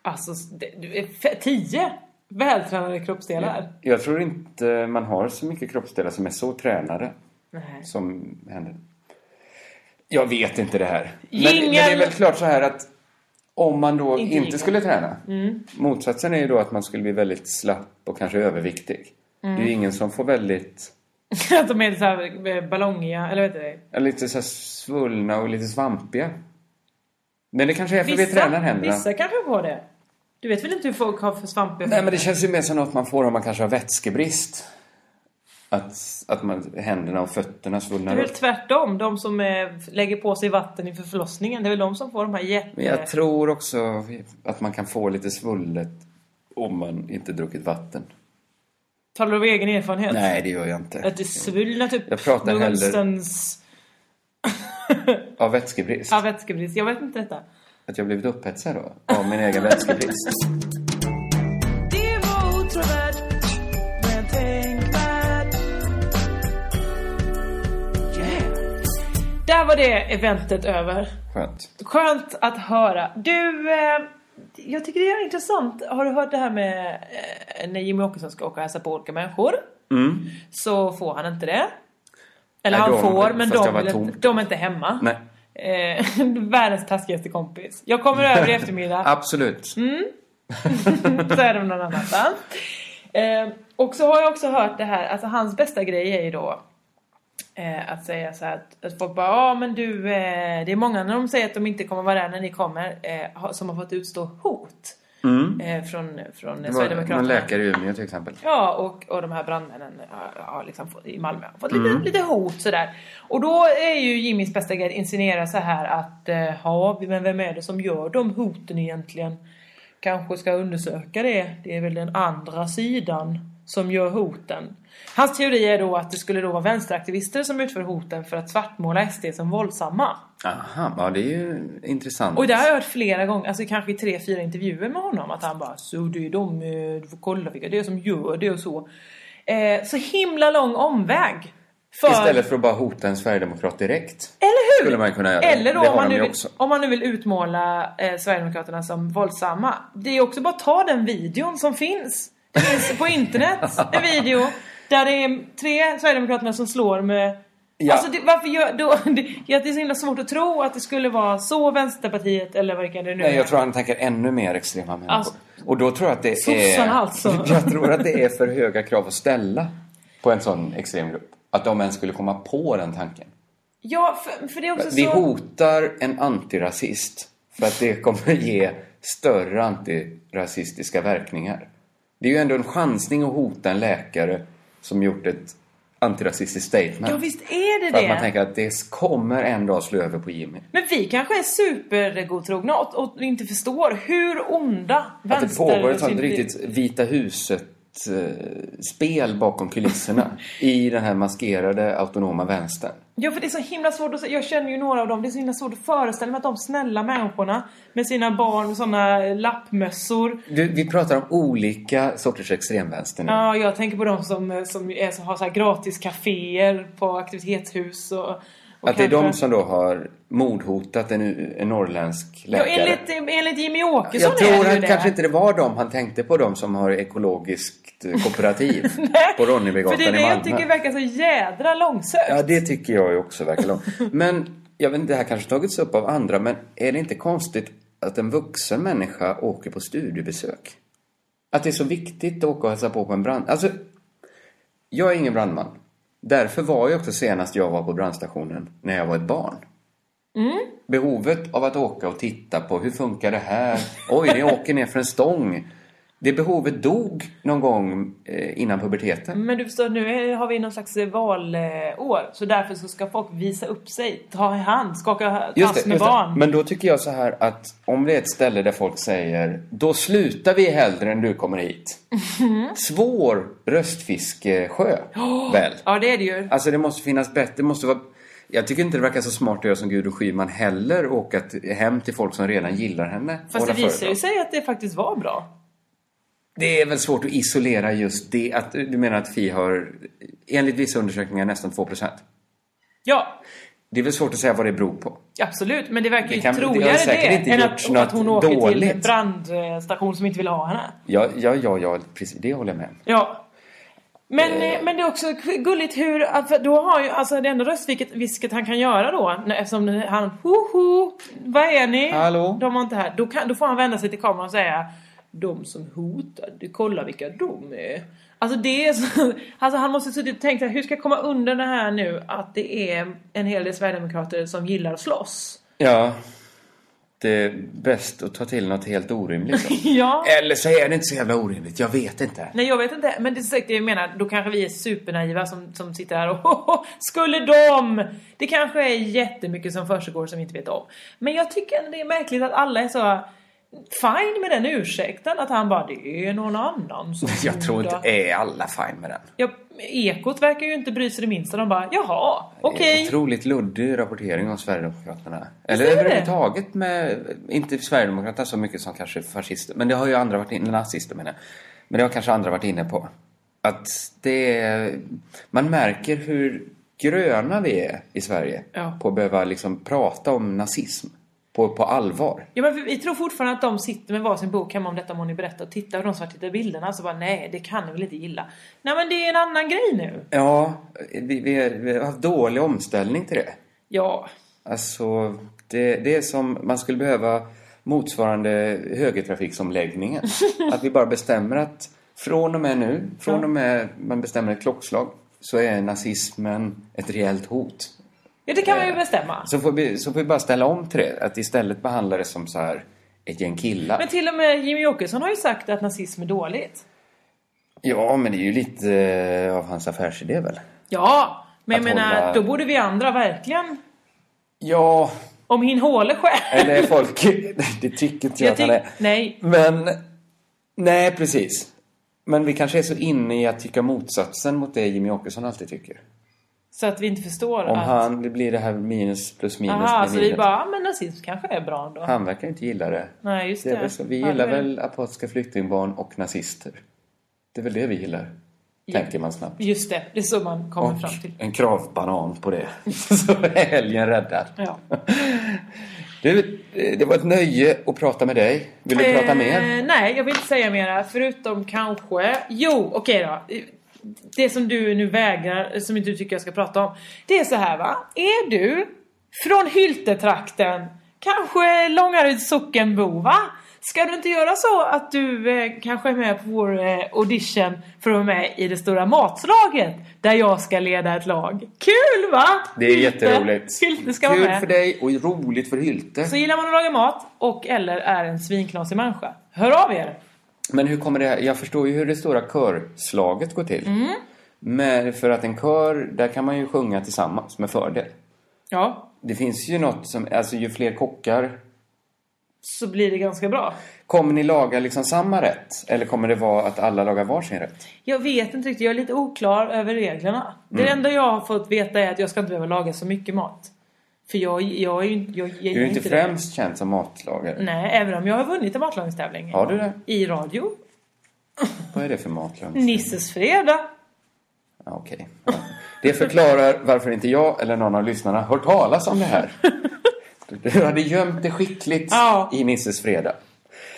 Alltså, det, det är fe- tio vältränade kroppsdelar.
Jag tror inte man har så mycket kroppsdelar som är så tränade
Nej.
som händer. Jag vet inte det här. Men,
Jingel!
men det är väl klart så här att om man då
Inte
inte,
jingel.
skulle träna.
Mm.
Motsatsen är ju då att man skulle bli väldigt slapp och kanske överviktig.
Mm.
Det är ju ingen som får väldigt,
Att de är så här eh, ballongiga, eller vad heter det?
eller lite så här svullna och lite svampiga. Men det kanske är för vi
Vissa-
tränar händerna.
Vissa kanske får det. Du vet väl inte hur folk har för svampiga
Nej men det känns ju mer som något man får om man kanske har vätskebrist. Att, att man, händerna och fötterna
Det
svullnar
är väl
upp.
tvärtom. De som eh, lägger på sig vatten inför förlossningen. Det är väl de som får de här jätte...
Men jag tror också att man kan få lite svullet om man inte druckit vatten.
Talar du av egen erfarenhet?
Nej, det gör jag inte.
Att det typ svullnat upp
Jag pratar hellre-
någonstans
Av vätskebrist.
av vätskebrist. Jag vet inte detta.
Att jag blivit upphetsad då? Av min egen vätskebrist.
Det var otrovärt, men tänkvärt.
Där var det eventet över.
Skönt.
Skönt att höra. Du, eh, jag tycker det är intressant. Har du hört det här med eh, när Jimmy Åkesson ska åka och hälsa på olika människor?
Mm.
Så får han inte det. Eller
Nej,
han
de-
får, men
fast det
de,
var
vill inte-
tomt.
de är inte hemma.
Nej.
Eh, världens taskigaste kompis. Ah. Jag kommer över i eftermiddag.
Absolut.
Mm. Så är de någon annanstans. Eh, och så har jag också hört det här, alltså hans bästa grej är ju då eh, att säga så här att, att folk bara ja men du, eh, det är många när de säger att de inte kommer vara där när ni kommer eh, ha- som har fått utstå hot
Mm.
eh, från, från
Det var
eh,
någon
Sverigedemokraterna.
läkare i Umeå till exempel.
Ja, och, och de här brandmännen ja, ja, liksom, få- i Malmö har fått lite,
Mm.
lite hot sådär. Och då är ju Jimmys bästa grej att insinuera så här att eh, ja, men vem är det som gör de hoten egentligen? Kanske ska undersöka det. Det är väl den andra sidan som gör hoten. Hans teori är då att det skulle då vara vänsteraktivister som utför hoten för att svartmåla SD som våldsamma.
Aha, ja det är ju intressant.
Och det har jag hört flera gånger, alltså kanske i tre, fyra intervjuer med honom att han bara så det är de, eh, du får kolla vilka det är som gör det och så. Eh, så himla lång omväg. För,
Istället för att bara hota en sverigedemokrat direkt.
Eller hur?
Skulle man kunna göra.
Eller då
det
om
har
man,
de
nu
ju
vill,
också.
om man nu vill utmåla eh, Sverigedemokraterna som våldsamma. Det är också bara att ta den videon som finns. Det finns på internet en video där det är tre Sverigedemokraterna som slår med
Ja.
Alltså det, varför gör, då, det, ja, det är så himla svårt att tro att det skulle vara så Vänsterpartiet eller vilka det nu
Nej,
är.
jag tror han tänker ännu mer extrema människor.
Alltså-
och då tror jag att det är...
Sossarna alltså.
Jag tror att det är för höga krav att ställa på en sån extrem grupp. Att de ens skulle komma på den tanken.
Ja, för, för det är också
Vi
Alltså, så...
hotar en antirasist för att det kommer ge större antirasistiska verkningar. Det är ju ändå en chansning att hota en läkare som gjort ett antirasistiskt statement.
Ja, visst är det
För att
det?
man tänker att det kommer en dag slå över på Jimmy.
Men vi kanske är supergodtrogna och, och inte förstår hur onda
Att det pågår ett sånt
vänster-
riktigt Vita huset-spel bakom kulisserna i den här maskerade autonoma vänstern.
Ja, för det är så himla svårt att se. Jag känner ju några av dem. Det är så himla svårt att föreställa mig att de snälla människorna med sina barn och såna lappmössor.
Du, vi pratar om olika sorters extremvänster nu.
Ja, jag tänker på de som, som, är, som har så här gratis kaféer på aktivitetshus och, och
Att det är de
kanske-
som då har mordhotat en, en norrländsk
Ja,
läkare.
enligt, enligt Jimmy Åkesson
jag
är
tror
det ju
han
det.
kanske inte det var dem han tänkte på, de som har ekologiskt eh, kooperativ på
För
Ronnebygatan
det
i
är det
Malmö.
jag tycker verkar så jädra långsökt.
Ja, det tycker jag ju också verkar långt. Men jag vet inte, det här kanske tagits upp av andra, men är det inte konstigt att en vuxen människa åker på studiebesök? Att det är så viktigt att åka och hälsa på på en brand... Alltså, jag är ingen brandman. Därför var jag också senast jag var på brandstationen när jag var ett barn.
Mm.
Behovet av att åka och titta på hur funkar det här? Oj, det åker ner för en stång. Det behovet dog någon gång eh, innan puberteten.
Men du förstår, nu är- har vi någon slags eh, valår. Så därför så ska folk visa upp sig, ta i hand, skaka
Just
tass
det,
med
just det.
barn.
Men då tycker jag så här att om det är ett ställe där folk säger då slutar vi hellre än du kommer hit.
Mhm.
Svår röstfiskesjö,
Ja.
väl?
Ja, det är det ju.
Alltså det måste finnas bättre, det måste vara... Jag tycker inte det verkar så smart att göra som Gudrun Schyman heller, åka till- hem till folk som redan gillar henne.
Fast det
Hålla
visar
föredrag.
ju sig att det faktiskt var bra.
Det är väl svårt att isolera just det, att du menar att Fi har, enligt vissa undersökningar, nästan 2%?
Ja.
Det är väl svårt att säga vad det beror på.
Absolut, men det verkar
Det
ju
kan- det har
troligare det,
säkert inte
än
gjorts
att,
något
att hon åker till en
dåligt.
brandstation som inte vill ha henne.
Ja, ja, ja, ja precis, det håller jag med om.
Ja. Men, eh, men det är också gulligt hur, att- för då har ju, alltså det enda röstvisket han kan göra då, när- eftersom han, hoho, vad är ni?
Hallå?
De var inte här. Då, kan, då får han vända sig till kameran och säga, de som hotar, du kolla vilka de är. Alltså det är så, alltså han måste suttit och tänkt så här, hur ska jag komma undan det här nu att det är en hel del sverigedemokrater som gillar att slåss?
Ja. Det är bäst att ta till något helt orimligt. då.
Ja.
Eller så är det inte så jävla orimligt, jag vet inte.
Nej jag vet inte, men det är säkert det jag menar, då kanske vi är supernaiva som, som sitter här och skulle de? Det kanske är jättemycket som försiggår som vi inte vet om. Men jag tycker ändå det är märkligt att alla är så fine med den ursäkten, att han bara det är någon annan som
Jag tror
gjorde."
inte är alla fine med den.
Ja, Ekot verkar ju inte bry sig det minsta, de bara jaha, okej.
Otroligt luddig rapportering om Sverigedemokraterna. Eller
är det?
överhuvudtaget med, inte Sverigedemokraterna så mycket som kanske fascister, men det har ju andra varit inne, nazister menar jag. Men det har kanske andra varit inne på. Att det är, man märker hur gröna vi är i Sverige
Ja.
på att behöva liksom prata om nazism på, på allvar.
Ja men vi tror fortfarande att de sitter med varsin bok hemma om detta må ni berätta och tittar på de svartvita bilderna så bara nej det kan ni väl inte gilla. Nej men det är en annan grej nu.
Ja, vi, vi, är- vi har haft dålig omställning till det.
Ja,
Alltså, det, det är som man skulle behöva motsvarande högertrafiksomläggningen. Att vi bara bestämmer att Från och med nu, från och med man bestämmer ett klockslag, så är nazismen ett reellt hot.
Ja,
Eh,
det kan man ju bestämma.
Så får vi, så får vi bara ställa om till det, att istället behandla det som så här ett gäng killar.
Men till och med Jimmy Åkesson har ju sagt att nazism är dåligt.
Ja, men det är ju lite eh, av hans affärsidé väl?
Ja, men jag
Att
menar,
hålla-
då borde vi andra verkligen...
Ja,
Om hin håle själv.
eller är folk... det tycker inte jag,
Jag
att han
tyck-
är.
nej.
Men... Nej, precis. Men vi kanske är så inne i att tycka motsatsen mot det Jimmy Åkesson alltid tycker.
Så att vi inte förstår
Om
att...
han, det blir det här minus plus minus
Aha,
blir
så vi
minus.
bara, "Ah, men nazism kanske är bra ändå.
Han verkar inte gilla det.
Nej, just
det är
det.
väl så. Vi
Ja,
gillar
det är-
väl apatiska flyktingbarn och nazister. Det är väl det vi gillar.
Ja.
Tänker man snabbt.
Just det, det är så man kommer
Och
fram till.
en kravbanan på det. så är helgen räddad.
Ja.
Du, eh, det var ett nöje att prata med dig. Vill du prata mer?
Eh, nej, jag vill inte säga mera. Förutom kanske... Jo, okej då. Eh, Det som du nu vägrar, eh, som inte du tycker jag ska prata om. Det är så här va. Är du från Hyltetrakten, kanske Långaryds sockenbo va? Ska du inte göra så att du eh, kanske är med på vår eh, audition för att vara med i det stora matslaget? Där jag ska leda ett lag. Kul va?
Det är jätteroligt.
Hylte ska vara
Kul
med.
för dig och roligt för Hylte.
Så gillar man att laga mat och eller är en svinknasig människa. Hör av er!
Men hur kommer det här? Jag förstår ju hur det stora körslaget går till.
Mm.
Men för att en kör, där kan man ju sjunga tillsammans med fördel.
Ja,
Det finns ju något som, alltså ju fler kockar.
så blir det ganska bra.
Kommer ni laga liksom samma rätt? Eller kommer det vara att alla lagar varsin rätt?
Jag vet inte riktigt, jag är lite oklar över reglerna. Det
Mm.
enda jag har fått veta är att jag ska inte behöva laga så mycket mat. För jag, jag är ju inte... Jag, jag,
Du är
gillar
ju inte
det. Mm.
främst känd som matlagare.
Nej, även om jag har vunnit en matlagningstävling.
Har du det?
I radio.
Vad är det för matlagning?
Nisses fredag.
Ja, Okej. Ja. Det förklarar varför inte jag eller någon av lyssnarna har hört talas om det här. Du hade gömt det skickligt i Nisses fredag.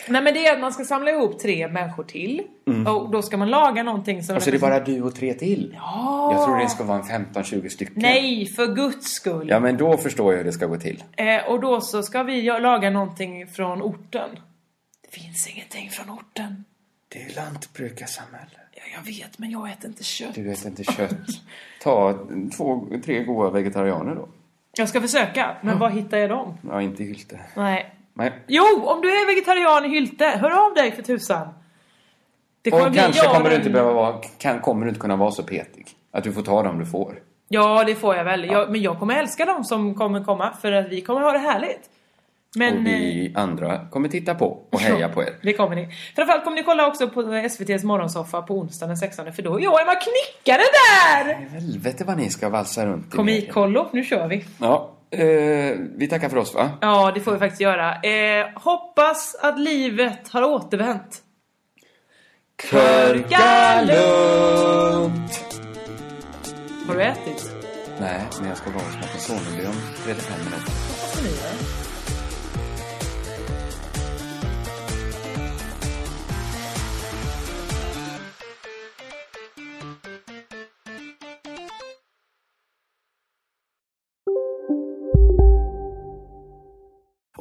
Nej men det är att man ska samla ihop tre människor till.
Mm.
Och då ska man laga någonting som...
Och så är Alltså, det bara du och tre till.
Ja.
Jag tror det ska vara en 15-20 stycken.
Nej, för guds skull.
Ja, men då förstår jag hur det ska gå till.
Eh, och då så ska vi gö- laga någonting från orten. Det finns ingenting från orten.
Det är ju lantbrukarsamhälle.
Ja, jag vet, men jag äter inte kött.
Du äter inte kött. Ta två, tre goda vegetarianer då.
Jag ska försöka, men var hittar jag dem?
Ja, inte i Hylte.
Nej.
Nej.
Jo, om du är vegetarian i Hylte, hör av dig för tusan. Det kommer
och
bli
kanske
jag och
kommer du
en-
inte behöva vara, kan, kommer du inte kunna vara så petig. Att du får ta dem du får.
Ja, det får jag väl. Jag, men jag kommer älska dem som kommer komma, för att vi kommer ha det härligt. Men...
och
eh,
vi andra kommer titta på och heja på er.
Det kommer ni. Framförallt kommer ni kolla också på SVT's morgonsoffa på onsdag den 16 för då är jag Emma Knickare där!
Helvete vad ni ska valsa runt i media.
Komikkollo, nu kör vi.
Ja, eh, vi tackar för oss va?
Ja, det får vi faktiskt göra. Eh, hoppas att livet har återvänt.
Körka
lugnt!
Har du ätit?
Nej, men jag ska vara hos Martin Soneby om 35 minuter.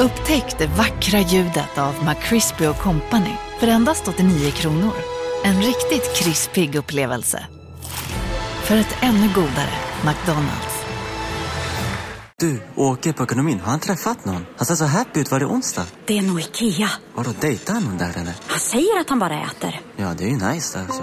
Upptäck det vackra ljudet av McCrispy Company för endast 89 kronor. En riktigt krispig upplevelse. För ett ännu godare McDonalds.
Du, åker på ekonomin. Har han träffat någon? Han ser så happy ut. Var det onsdag?
Det är nog Ikea.
Vadå, dejtar han någon där eller?
Han säger att han bara äter.
Ja, det är ju nice alltså.